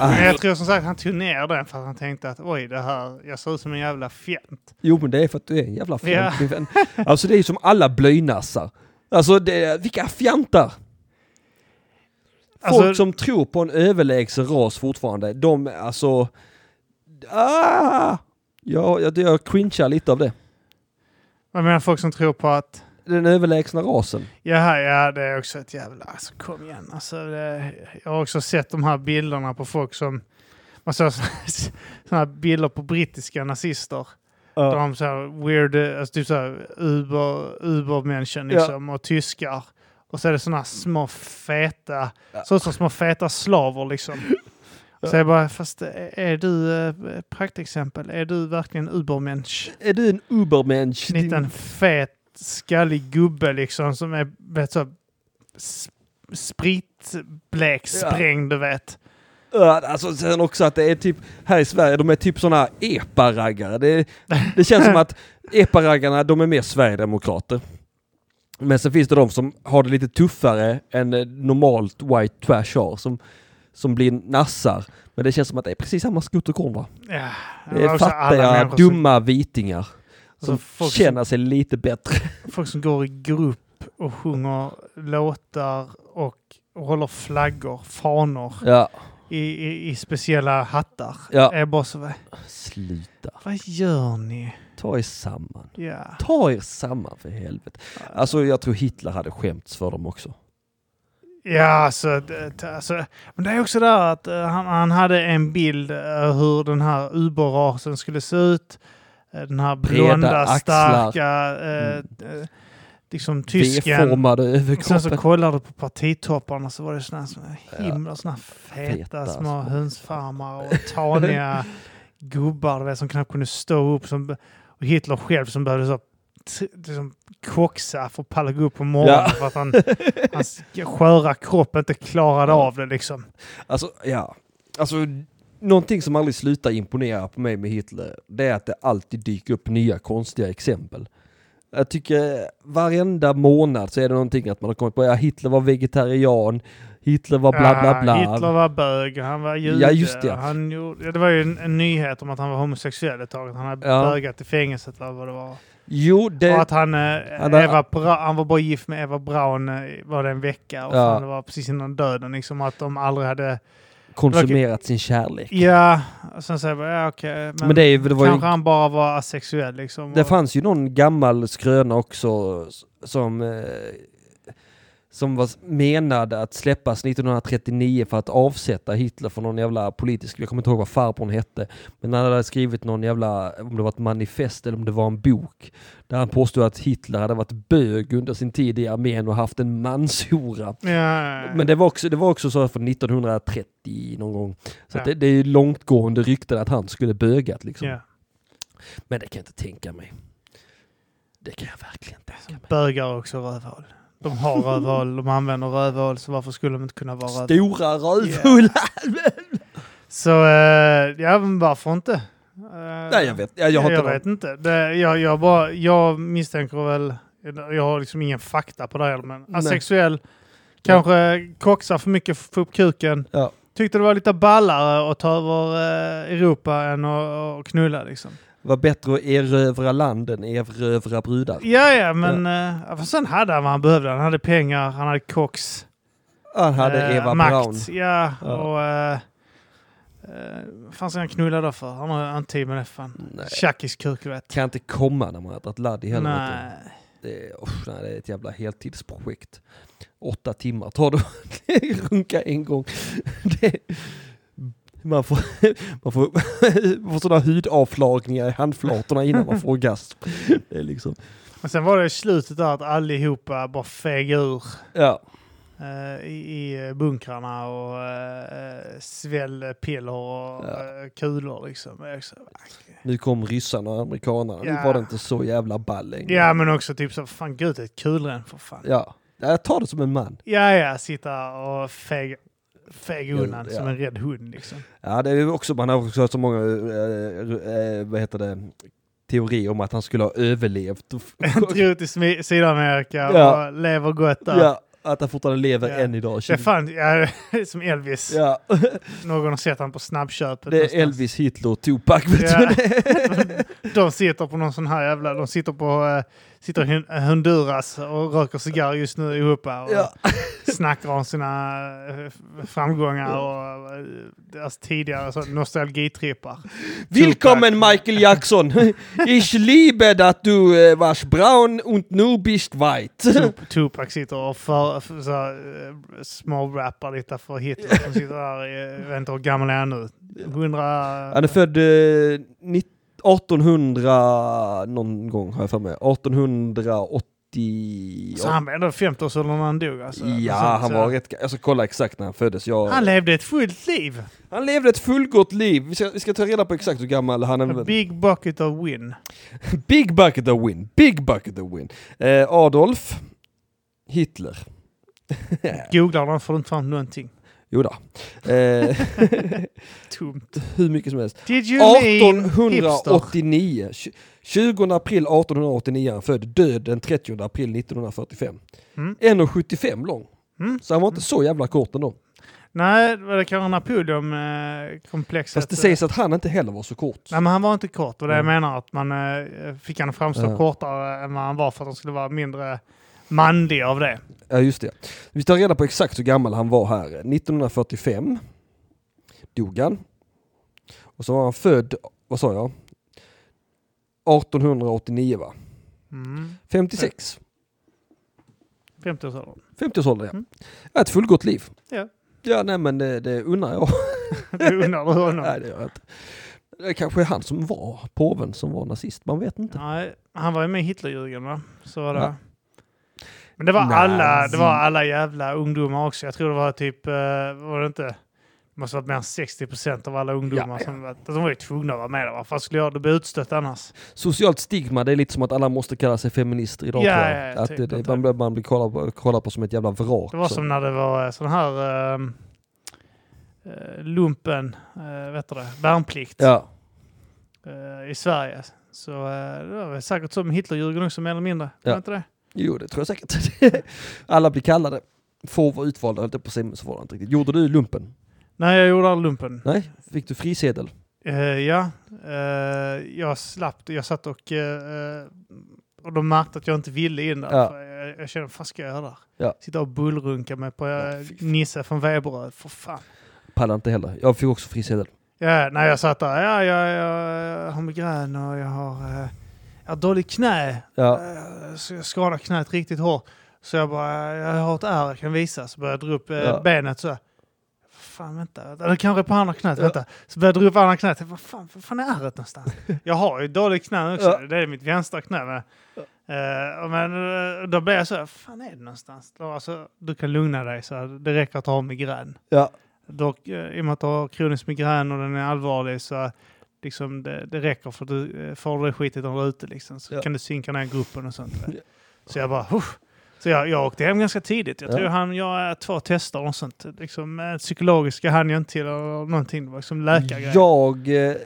B: Men jag tror som sagt han tog ner den för att han tänkte att oj, det här, jag ser ut som en jävla fjänt.
A: Jo, men det är för att du är en jävla fjant,
B: Ja.
A: min vän. Alltså, det är ju som alla blöjnassar. Alltså, det är, vilka fjantar! Folk
B: Alltså-
A: som tror på en överlägsen ras fortfarande, de alltså... Ah! Ja, jag, jag cringear lite av det.
B: Jag menar folk som tror på att
A: Den överlägsna rasen.
B: Jaha, ja det är också ett jävla... Alltså kom igen. Alltså, det, jag har också sett de här bilderna på folk som... Man såg sådana här bilder på brittiska nazister. Där de så här weird, alltså typ såhär uber, ubermänniskan
A: Ja.
B: liksom och tyskar. Och så är det sådana här små feta, så ut som små feta slavar liksom. Så jag bara, fast är är du, eh, praktexempel, är du verkligen ubermensch?
A: Är du en ubermensch?
B: En liten fet skallig gubbe liksom som är vet, så, sp- spritblek, sprängd du vet.
A: Ja, Alltså sen också att det är typ, här i Sverige, de är typ sådana epa-raggare. Det, det känns som att epa-raggarna, de är mer sverigedemokrater. Men sen finns det de som har det lite tuffare än eh, normalt white trash har, som, som blir nassar. Men det känns som att det är precis samma skutt och korn va?
B: Ja,
A: Det är
B: också alla
A: fattiga,
B: människor
A: dumma vitingar. Som
B: Alltså, folk som-
A: känner sig lite bättre.
B: Som, folk som går i grupp och sjunger låtar och håller flaggor, fanor
A: Ja,
B: i, i, i speciella hattar.
A: Ja.
B: Är bara så, vad,
A: sluta.
B: vad gör ni?
A: Ta er samman.
B: Ja.
A: Ta er samman för helvete. Alltså jag tror Hitler hade skämts för dem också.
B: Ja, alltså, det, det- alltså, men det är också där att eh, han, han hade en bild eh, hur den här uberrasen skulle se ut. Eh, den här
A: Breda
B: blonda,
A: axlar. Mm.
B: starka, eh, eh, liksom tysken.
A: V-formade
B: Och sen så
A: överkroppen.
B: kollade du på partitopparna så var det såna små himla såna feta,
A: Feta
B: små
A: små-
B: hönsfarmar och taniga gubbar du vet, som knappt kunde stå upp. Som, och Hitler själv som behövde så t- liksom, koxa för att palla gå upp på morgonen
A: Ja.
B: för att han, hans sköra kropp inte klarade av det liksom.
A: Alltså, ja. Alltså, någonting som aldrig slutar imponera på mig med Hitler, det är att det alltid dyker upp nya konstiga exempel. Jag tycker varenda månad så är det någonting att man har kommit på, ja Hitler var vegetarian, Hitler var bla bla bla.
B: Ja, Hitler var bög, han var jude.
A: Ja, just det.
B: Han gjorde, ja, det var ju en, en nyhet om att han var homosexuell ett tag. Att han hade
A: Ja.
B: bögat i fängelset eller vad det var.
A: Jo,
B: Och
A: det...
B: att han, eh,
A: Han har-
B: Eva Bra, han var bara gift med Eva Braun eh, var det en vecka och
A: Ja.
B: sen det var precis innan döden liksom att de aldrig hade...
A: Konsumerat sin kärlek.
B: Ja, och sen säger jag bara, ja okej. men
A: Men det, är- det var ju
B: kanske han bara var asexuell liksom.
A: Det
B: och,
A: fanns ju någon gammal skröna också s- som, eh, som var s- menad att släppas 1939 för att avsätta Hitler för någon jävla politisk, jag kommer inte ihåg vad farbrorn hette, men han hade skrivit någon jävla, om det var ett manifest eller om det var en bok, där han påstod att Hitler hade varit bög under sin tid i armén och haft en manshora.
B: ja,
A: Men det var också, det var också så här från 1930 någon gång. Så att
B: Ja.
A: det, det är ju långtgående rykten att han skulle bögat liksom.
B: ja.
A: Men det kan jag inte tänka mig. Det kan jag verkligen inte tänka mig.
B: Bögar och också rövhål. De har rövhål, de använder rövhål, så varför skulle de inte kunna vara rövhål?
A: Stora rövhålar!
B: Så eh, ja, men varför inte? Eh,
A: Nej, jag vet. Jag, jag har
B: jag
A: inte
B: vet inte. Det, jag, jag, bara, jag misstänker väl, jag har liksom ingen fakta på det här, men
A: Nej.
B: asexuell, kanske koxar för mycket för att få upp kuken.
A: Ja.
B: Tyckte det var lite ballare att ta över eh, Europa än att att knulla liksom.
A: Var bättre att erövra land än erövra brudar.
B: Ja, ja, men eh, ja. för sen hade han vad han behövde. Han hade pengar, han hade kox,
A: Han hade
B: eh,
A: Eva
B: makt.
A: Braun.
B: Ja,
A: Ja.
B: och... Eh, eh, vad fan ska han knulla då för? Han har han har tid med det fan.
A: Nej.
B: Tjackiskuk, du vet.
A: Kan inte komma när man har dragit ladd i helvete.
B: Nej.
A: Det är, usch, nej, det är ett jävla heltidsprojekt. Åtta timmar tar det att runka en gång. Det, man får, man får, man får sådana hudavflagningar i handflatorna innan man får orgasm. Det är liksom,
B: Men sen var det i slutet där att allihopa bara feg ur
A: ja,
B: eh, i, i bunkrarna och eh, sväll piller och
A: Ja.
B: eh, kulor liksom. Jag också,
A: nu kom ryssarna och amerikanerna. Nu
B: Ja.
A: var det inte så jävla ball längre.
B: Ja men också typ så, fan gå ut i ett kulren för fan.
A: ja. Jag tar det som en man.
B: Ja ja, sitta och feg, feg undan
A: Ja.
B: som en rädd hund liksom.
A: Ja, det är ju också, man har också hört så många, eh, eh, vad heter det, teorier om att han skulle ha överlevt.
B: Dra ut i Smi- Sydamerika
A: Ja.
B: och lever gott där.
A: ja, att han fortfarande lever
B: Ja.
A: än idag.
B: Det är fan, ja, som Elvis.
A: Ja,
B: Någon har sett han på snabbköpet.
A: det är
B: någonstans.
A: Elvis, Hitler och Tupac. Vet
B: Ja.
A: du vad det är?
B: De sitter på någon sån här jävla... De sitter på... eh, sitter i Hon- Honduras och röker cigarr just nu ihop här och
A: Ja.
B: snackar om sina eh, framgångar och eh, deras tidigare så, nostalgitrippar.
A: Willkommen Michael Jackson! Ich liebe att du eh, warst braun und nu bist weit.
B: Tup- Tupac sitter och för, för, så, eh, smårappar lite för Hitler som sitter där i, jag vet inte hur gammal är han nu? 100...
A: Han är född eh, nitt- 1800 någon gång har jag för mig. 1880...
B: Så han var ändå 50-årsåldern när han dog alltså.
A: Ja,
B: Så-
A: han
B: så-
A: var rätt... Jag ska kolla exakt när han föddes. Jag...
B: Han levde ett fullt liv!
A: Han levde ett fullgott liv. Vi ska, vi ska ta reda på exakt hur gammal han
B: A
A: är.
B: big bucket of win.
A: Big bucket of win. Big bucket of win. Eh, Adolf Hitler.
B: Googlar de får du inte fram någonting.
A: Jo då. Eh,
B: Tomt.
A: hur mycket som helst.
B: Did you mean hipster?
A: 1889. Tj- 20 april 1889 är han född. Död den 30 april 1945.
B: Mm.
A: 1,75 lång.
B: Mm.
A: Så han var inte så jävla kort ändå.
B: Nej, det var kanske Napoleon-komplexet.
A: Fast det sägs att han inte heller var så kort.
B: Nej, men han var inte kort. Och det jag
A: Mm.
B: menar att man eh, fick han att framstå
A: Ja.
B: kortare än vad han var för att han skulle vara mindre manlig av det.
A: Ja, just det. Vi tar reda på exakt hur gammal han var här. 1945 dog han. Och så var han född, vad sa jag? 1889 va?
B: Mm.
A: 56.
B: 50-årsåldern.
A: 50-årsåldern ja.
B: Mm.
A: ja. Ett fullgott liv.
B: Ja.
A: Ja, nej men det, det undrar jag.
B: Du undrar du honom?
A: nej, det gör jag inte. Det kanske är han som var påven som var nazist, man vet inte.
B: Nej, han var ju med i Hitlerjugend va? Så var det.
A: Ja.
B: Men det var,
A: Nazi.
B: alla, det var alla jävla ungdomar också. Jag tror det var typ, eh, var det inte? Det måste ha varit mer än 60 procent av alla ungdomar
A: Ja, ja.
B: som var, de var ju tvungna att vara med där. Vad fan skulle jag då bli utstött annars?
A: Socialt stigma, det är lite som att alla måste kalla sig feminister idag
B: Ja,
A: tror
B: ja,
A: jag.
B: ja,
A: Att
B: typ,
A: det, det,
B: typ.
A: man, blir- man blir kollad på, kollad på som ett jävla vrak.
B: Det var
A: så.
B: som när det var eh, sån här ehm, eh, lumpen, eh, vet du det, värnplikt
A: Ja.
B: eh, i Sverige. Så eh, det var väl säkert så med Hitlerjugend också mer eller mindre.
A: Ja.
B: Var inte det?
A: Jo, det tror jag säkert. Alla blir kallade. Få var utvalda, höll jag på att säga, men så var det inte riktigt. Gjorde du lumpen?
B: Nej, jag gjorde aldrig lumpen.
A: Nej? Fick du frisedel?
B: Eh, ja, Eh, jag slapp det. Jag satt och, eh, och de märkte att jag inte ville in där.
A: Ja.
B: För jag, jag kände, vad fan ska jag göra där?
A: Ja.
B: Sitta och bullrunka mig på
A: Ja,
B: eh,
A: fy fan.
B: Nisse från Veberöd, för fan.
A: Pallade inte heller. Jag fick också frisedel.
B: Ja, när jag satt där, ja, jag, jag, jag har migrän och jag har, eh, jag har dåligt knä.
A: Ja.
B: Eh, Så jag skadade knät riktigt hårt. Så jag bara, jag har ett ärr jag kan visa. Så började jag dra upp eh,
A: Ja.
B: benet så. här. Fan vänta, vänta. eller kanske på andra knät,
A: Ja.
B: vänta. Så började jag dra upp andra knät. Jag bara, fan, vad fan är ärret någonstans? jag har ju dåligt knä också.
A: Ja.
B: Det är mitt vänstra knä. Men, eh, och men eh, då blev jag så, här, fan är det någonstans? Då, alltså, du kan lugna dig, så här, det räcker att ha migrän.
A: Ja.
B: Dock, eh, I och med att du har kronisk migrän och den är allvarlig så liksom, det, det räcker för att du eh, får det skitet när du är ute. Liksom, så
A: Ja.
B: kan du synka ner gruppen och sånt. va?
A: Ja.
B: Så jag bara, "Uff." Så jag, jag åkte hem ganska tidigt. Jag tror han jag två tester och något sånt. Liksom, eh, psykologiska hann jag inte till eller någonting. Det var liksom läkargrejer.
A: Jag eh,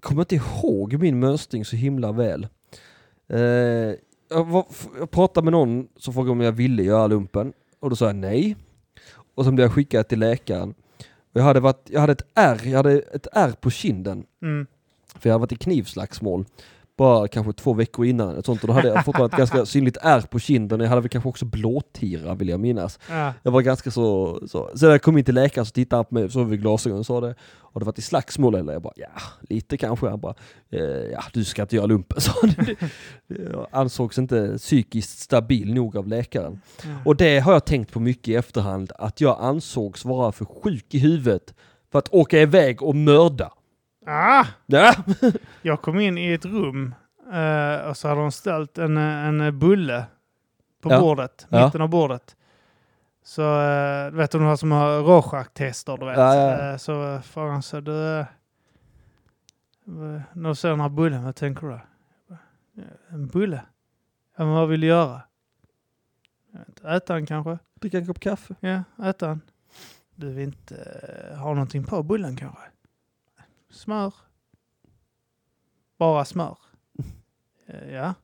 A: kommer inte ihåg min mönstring så himla väl. Eh, jag, var, f- jag pratade med någon som frågade om jag ville göra lumpen och då sa jag nej. Och sen blev jag skickad till läkaren. Och jag, hade varit, jag hade ett R, jag hade ett R på kinden
B: Mm.
A: för jag hade varit i knivslagsmål bara kanske två veckor innan. Ett sånt, och då hade jag fortfarande ett ganska synligt ärr på kinden. Jag hade väl kanske också blåtira vill jag minnas.
B: Ja.
A: Jag var ganska så... så. Sen när jag kom in till läkaren så tittade han på mig, så vi glasögon och sa det. Har du varit i slagsmål eller? Jag bara ja, lite kanske. Han bara eh, ja, du ska inte göra lumpen sa han. Jag ansågs inte psykiskt stabil nog av läkaren. Och det har jag tänkt på mycket i efterhand, att jag ansågs vara för sjuk i huvudet för att åka iväg och mörda.
B: Ah!
A: Ja.
B: Jag kom in i ett rum eh, och så hade de ställt en, eh, en bulle på
A: Ja.
B: bordet,
A: Ja.
B: mitten av bordet. Så eh, du vet de här som har Rorschach-tester, du vet.
A: Ja, ja, ja.
B: Eh, så frågade han så du... eh, vad- När du ser den här bullen, vad tänker du? då?" En bulle? Ja, men vad vill du göra? Jag vet inte, Äta den kanske?
A: Dricka en kopp kaffe.
B: Ja, äta den. Du vill inte eh, ha någonting på bullen kanske? Smör. Bara smör. Eh, ja.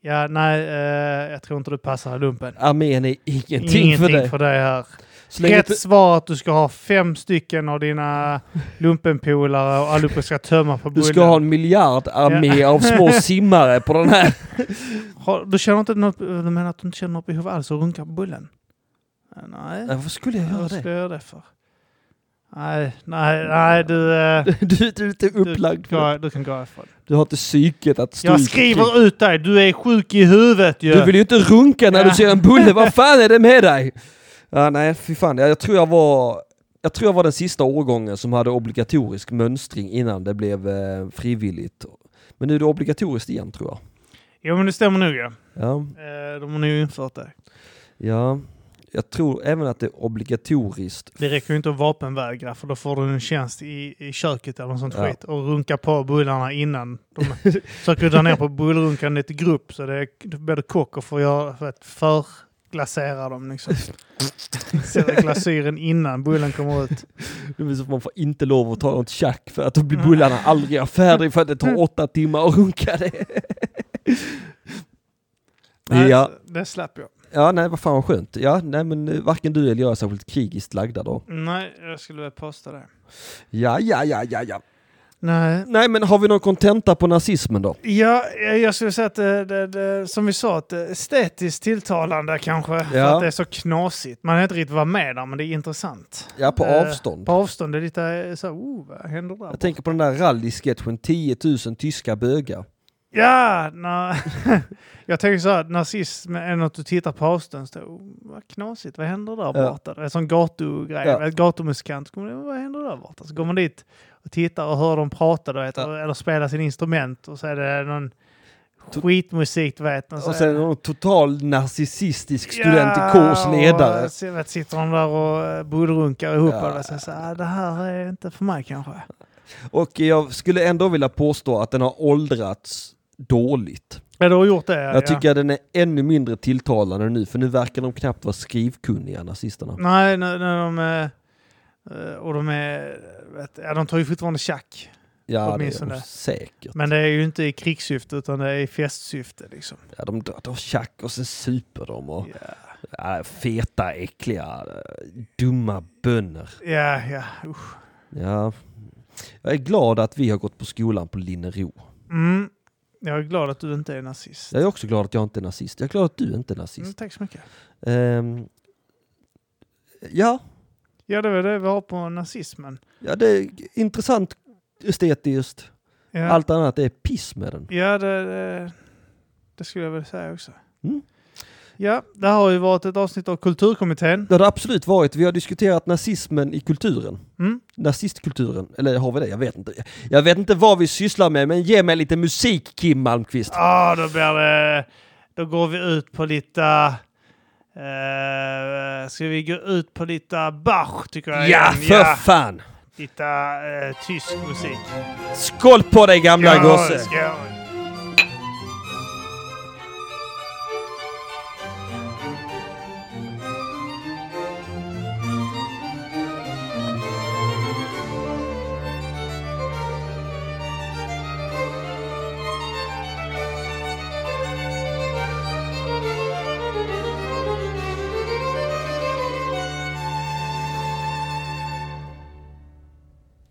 B: Ja, nej, eh, jag tror inte du passar lumpen.
A: Armén är ingenting,
B: Ingenting
A: för dig.
B: för dig här.
A: Så länge
B: Rätt
A: inte-
B: svar är att du ska ha fem stycken av dina lumpenpolare och allihopa ska tömma på
A: du
B: bullen.
A: ska ha en miljard armé av små simmare på den här.
B: Har- Du känner inte något, du menar att du inte känner något behov alls att runka på bullen? Eh, Nej.
A: Varför skulle jag göra
B: Vad ska
A: det?
B: jag göra det för? Nej, nej, nej, du... eh,
A: Du, du är inte upplagd
B: Du,
A: för det.
B: gå, du kan gå ifrån.
A: Du har inte psyket att stå
B: Jag
A: ut och krig.
B: skriver ut dig, du är sjuk i huvudet ju!
A: Du vill ju inte runka när du
B: Ja.
A: ser en bulle, vad fan är det med dig? Ja, nej, fy fan. Jag, jag tror jag var... Jag tror jag var den sista årgången som hade obligatorisk mönstring innan det blev eh, frivilligt. Men nu är det obligatoriskt igen tror jag.
B: Jo men det stämmer nog ja.
A: Ja,
B: Eh, De har nog infört det.
A: ja. Jag tror även att det är obligatoriskt.
B: Det räcker ju inte att vapenvägra för då får du en tjänst i, i köket eller något sånt
A: Ja.
B: skit och runka på bullarna innan. De försöker dra ner på bullrunkandet i grupp så det är då blir det kock och får göra för att förglasera dem liksom. Sätta glasyren innan bullen kommer ut.
A: Det vill säga att man får inte lov att ta något tjack för att då blir bullarna aldrig färdiga för att det tar åtta timmar att runka det.
B: Nej,
A: Ja.
B: Det slapp jag.
A: Ja, nej, vad fan vad skönt. Ja, nej, men eh, varken du eller jag är särskilt krigiskt lagda då.
B: Nej, jag skulle vilja posta det.
A: Ja, ja, ja, ja, ja.
B: Nej,
A: Nej, men har vi någon kontenta på nazismen då?
B: Ja, jag jag skulle säga att det, det, det, som vi sa, att det är estetiskt tilltalande kanske. För
A: Ja.
B: att det är så knasigt. Man vet inte riktigt vad med där, men det är intressant.
A: Ja, på
B: Eh,
A: avstånd.
B: På avstånd är det lite så här, oh, vad händer där?
A: Jag tänker på den där rallysketchen 10 000 tyska bögar.
B: Ja, na, jag tänker så här, nazism är något du tittar på avstånd. Så, oh, vad knasigt, vad händer där
A: Ja.
B: borta? Det är en sån gatugrej,
A: Ja.
B: ett gatumusikant. så kommer det, oh, Vad händer där borta? Så går man dit och tittar och hör dem prata, du vet,
A: Ja.
B: eller spela sin instrument och så är det någon skitmusik, du vet.
A: Och
B: är
A: sen
B: det-
A: någon total narcissistisk student i kårs ledare.
B: Och, så vet, sitter de där och eh, bullrunkar ihop
A: Ja.
B: och säger så här, "Ah, det här är inte för mig kanske.
A: Och jag skulle ändå vilja påstå att den har åldrats dåligt.
B: Ja, du har gjort det. ja.
A: Jag tycker att den är ännu mindre tilltalande nu, för nu verkar de knappt vara skrivkunniga, nazisterna.
B: Nej, när, när de är... eh, Och de är... Vet, ja, de tar ju fortfarande tjack.
A: Ja, det är de
B: Åtminstone.
A: säkert.
B: Men det är ju inte i krigssyfte utan det är i festsyfte liksom.
A: Ja, de drar drar tjack och sen super de och
B: Ja,
A: ja, feta, äckliga, eh, dumma bönder.
B: ja, ja. usch.
A: Ja. Jag är glad att vi har gått på skolan på Linnero.
B: Mm. Jag är glad att du inte är nazist.
A: Jag är också glad att jag inte är nazist. Jag är glad att du inte är
B: Mm,
A: nazist.
B: tack så mycket. Mm.
A: Ehm, ja,
B: Ja, det var det vi har på nazismen.
A: ja, det är intressant estetiskt.
B: Ja.
A: Allt annat är piss med den.
B: Ja, det, det, det skulle jag vilja säga också.
A: Mm.
B: Ja, det här har ju varit ett avsnitt av Kulturkommittén.
A: Det har det absolut varit. Vi har diskuterat nazismen i kulturen.
B: Mm.
A: Nazistkulturen. Eller har vi det? Jag vet inte. Jag vet inte vad vi sysslar med, men ge mig lite musik, Kim Malmqvist.
B: Ah, då blir det... Då går vi ut på lite... Eh, ska vi gå ut på lite Bach, tycker jag.
A: Ja,
B: igen.
A: för fan!
B: Lite eh, tysk musik.
A: Skål på dig gamla gosse!
B: skål.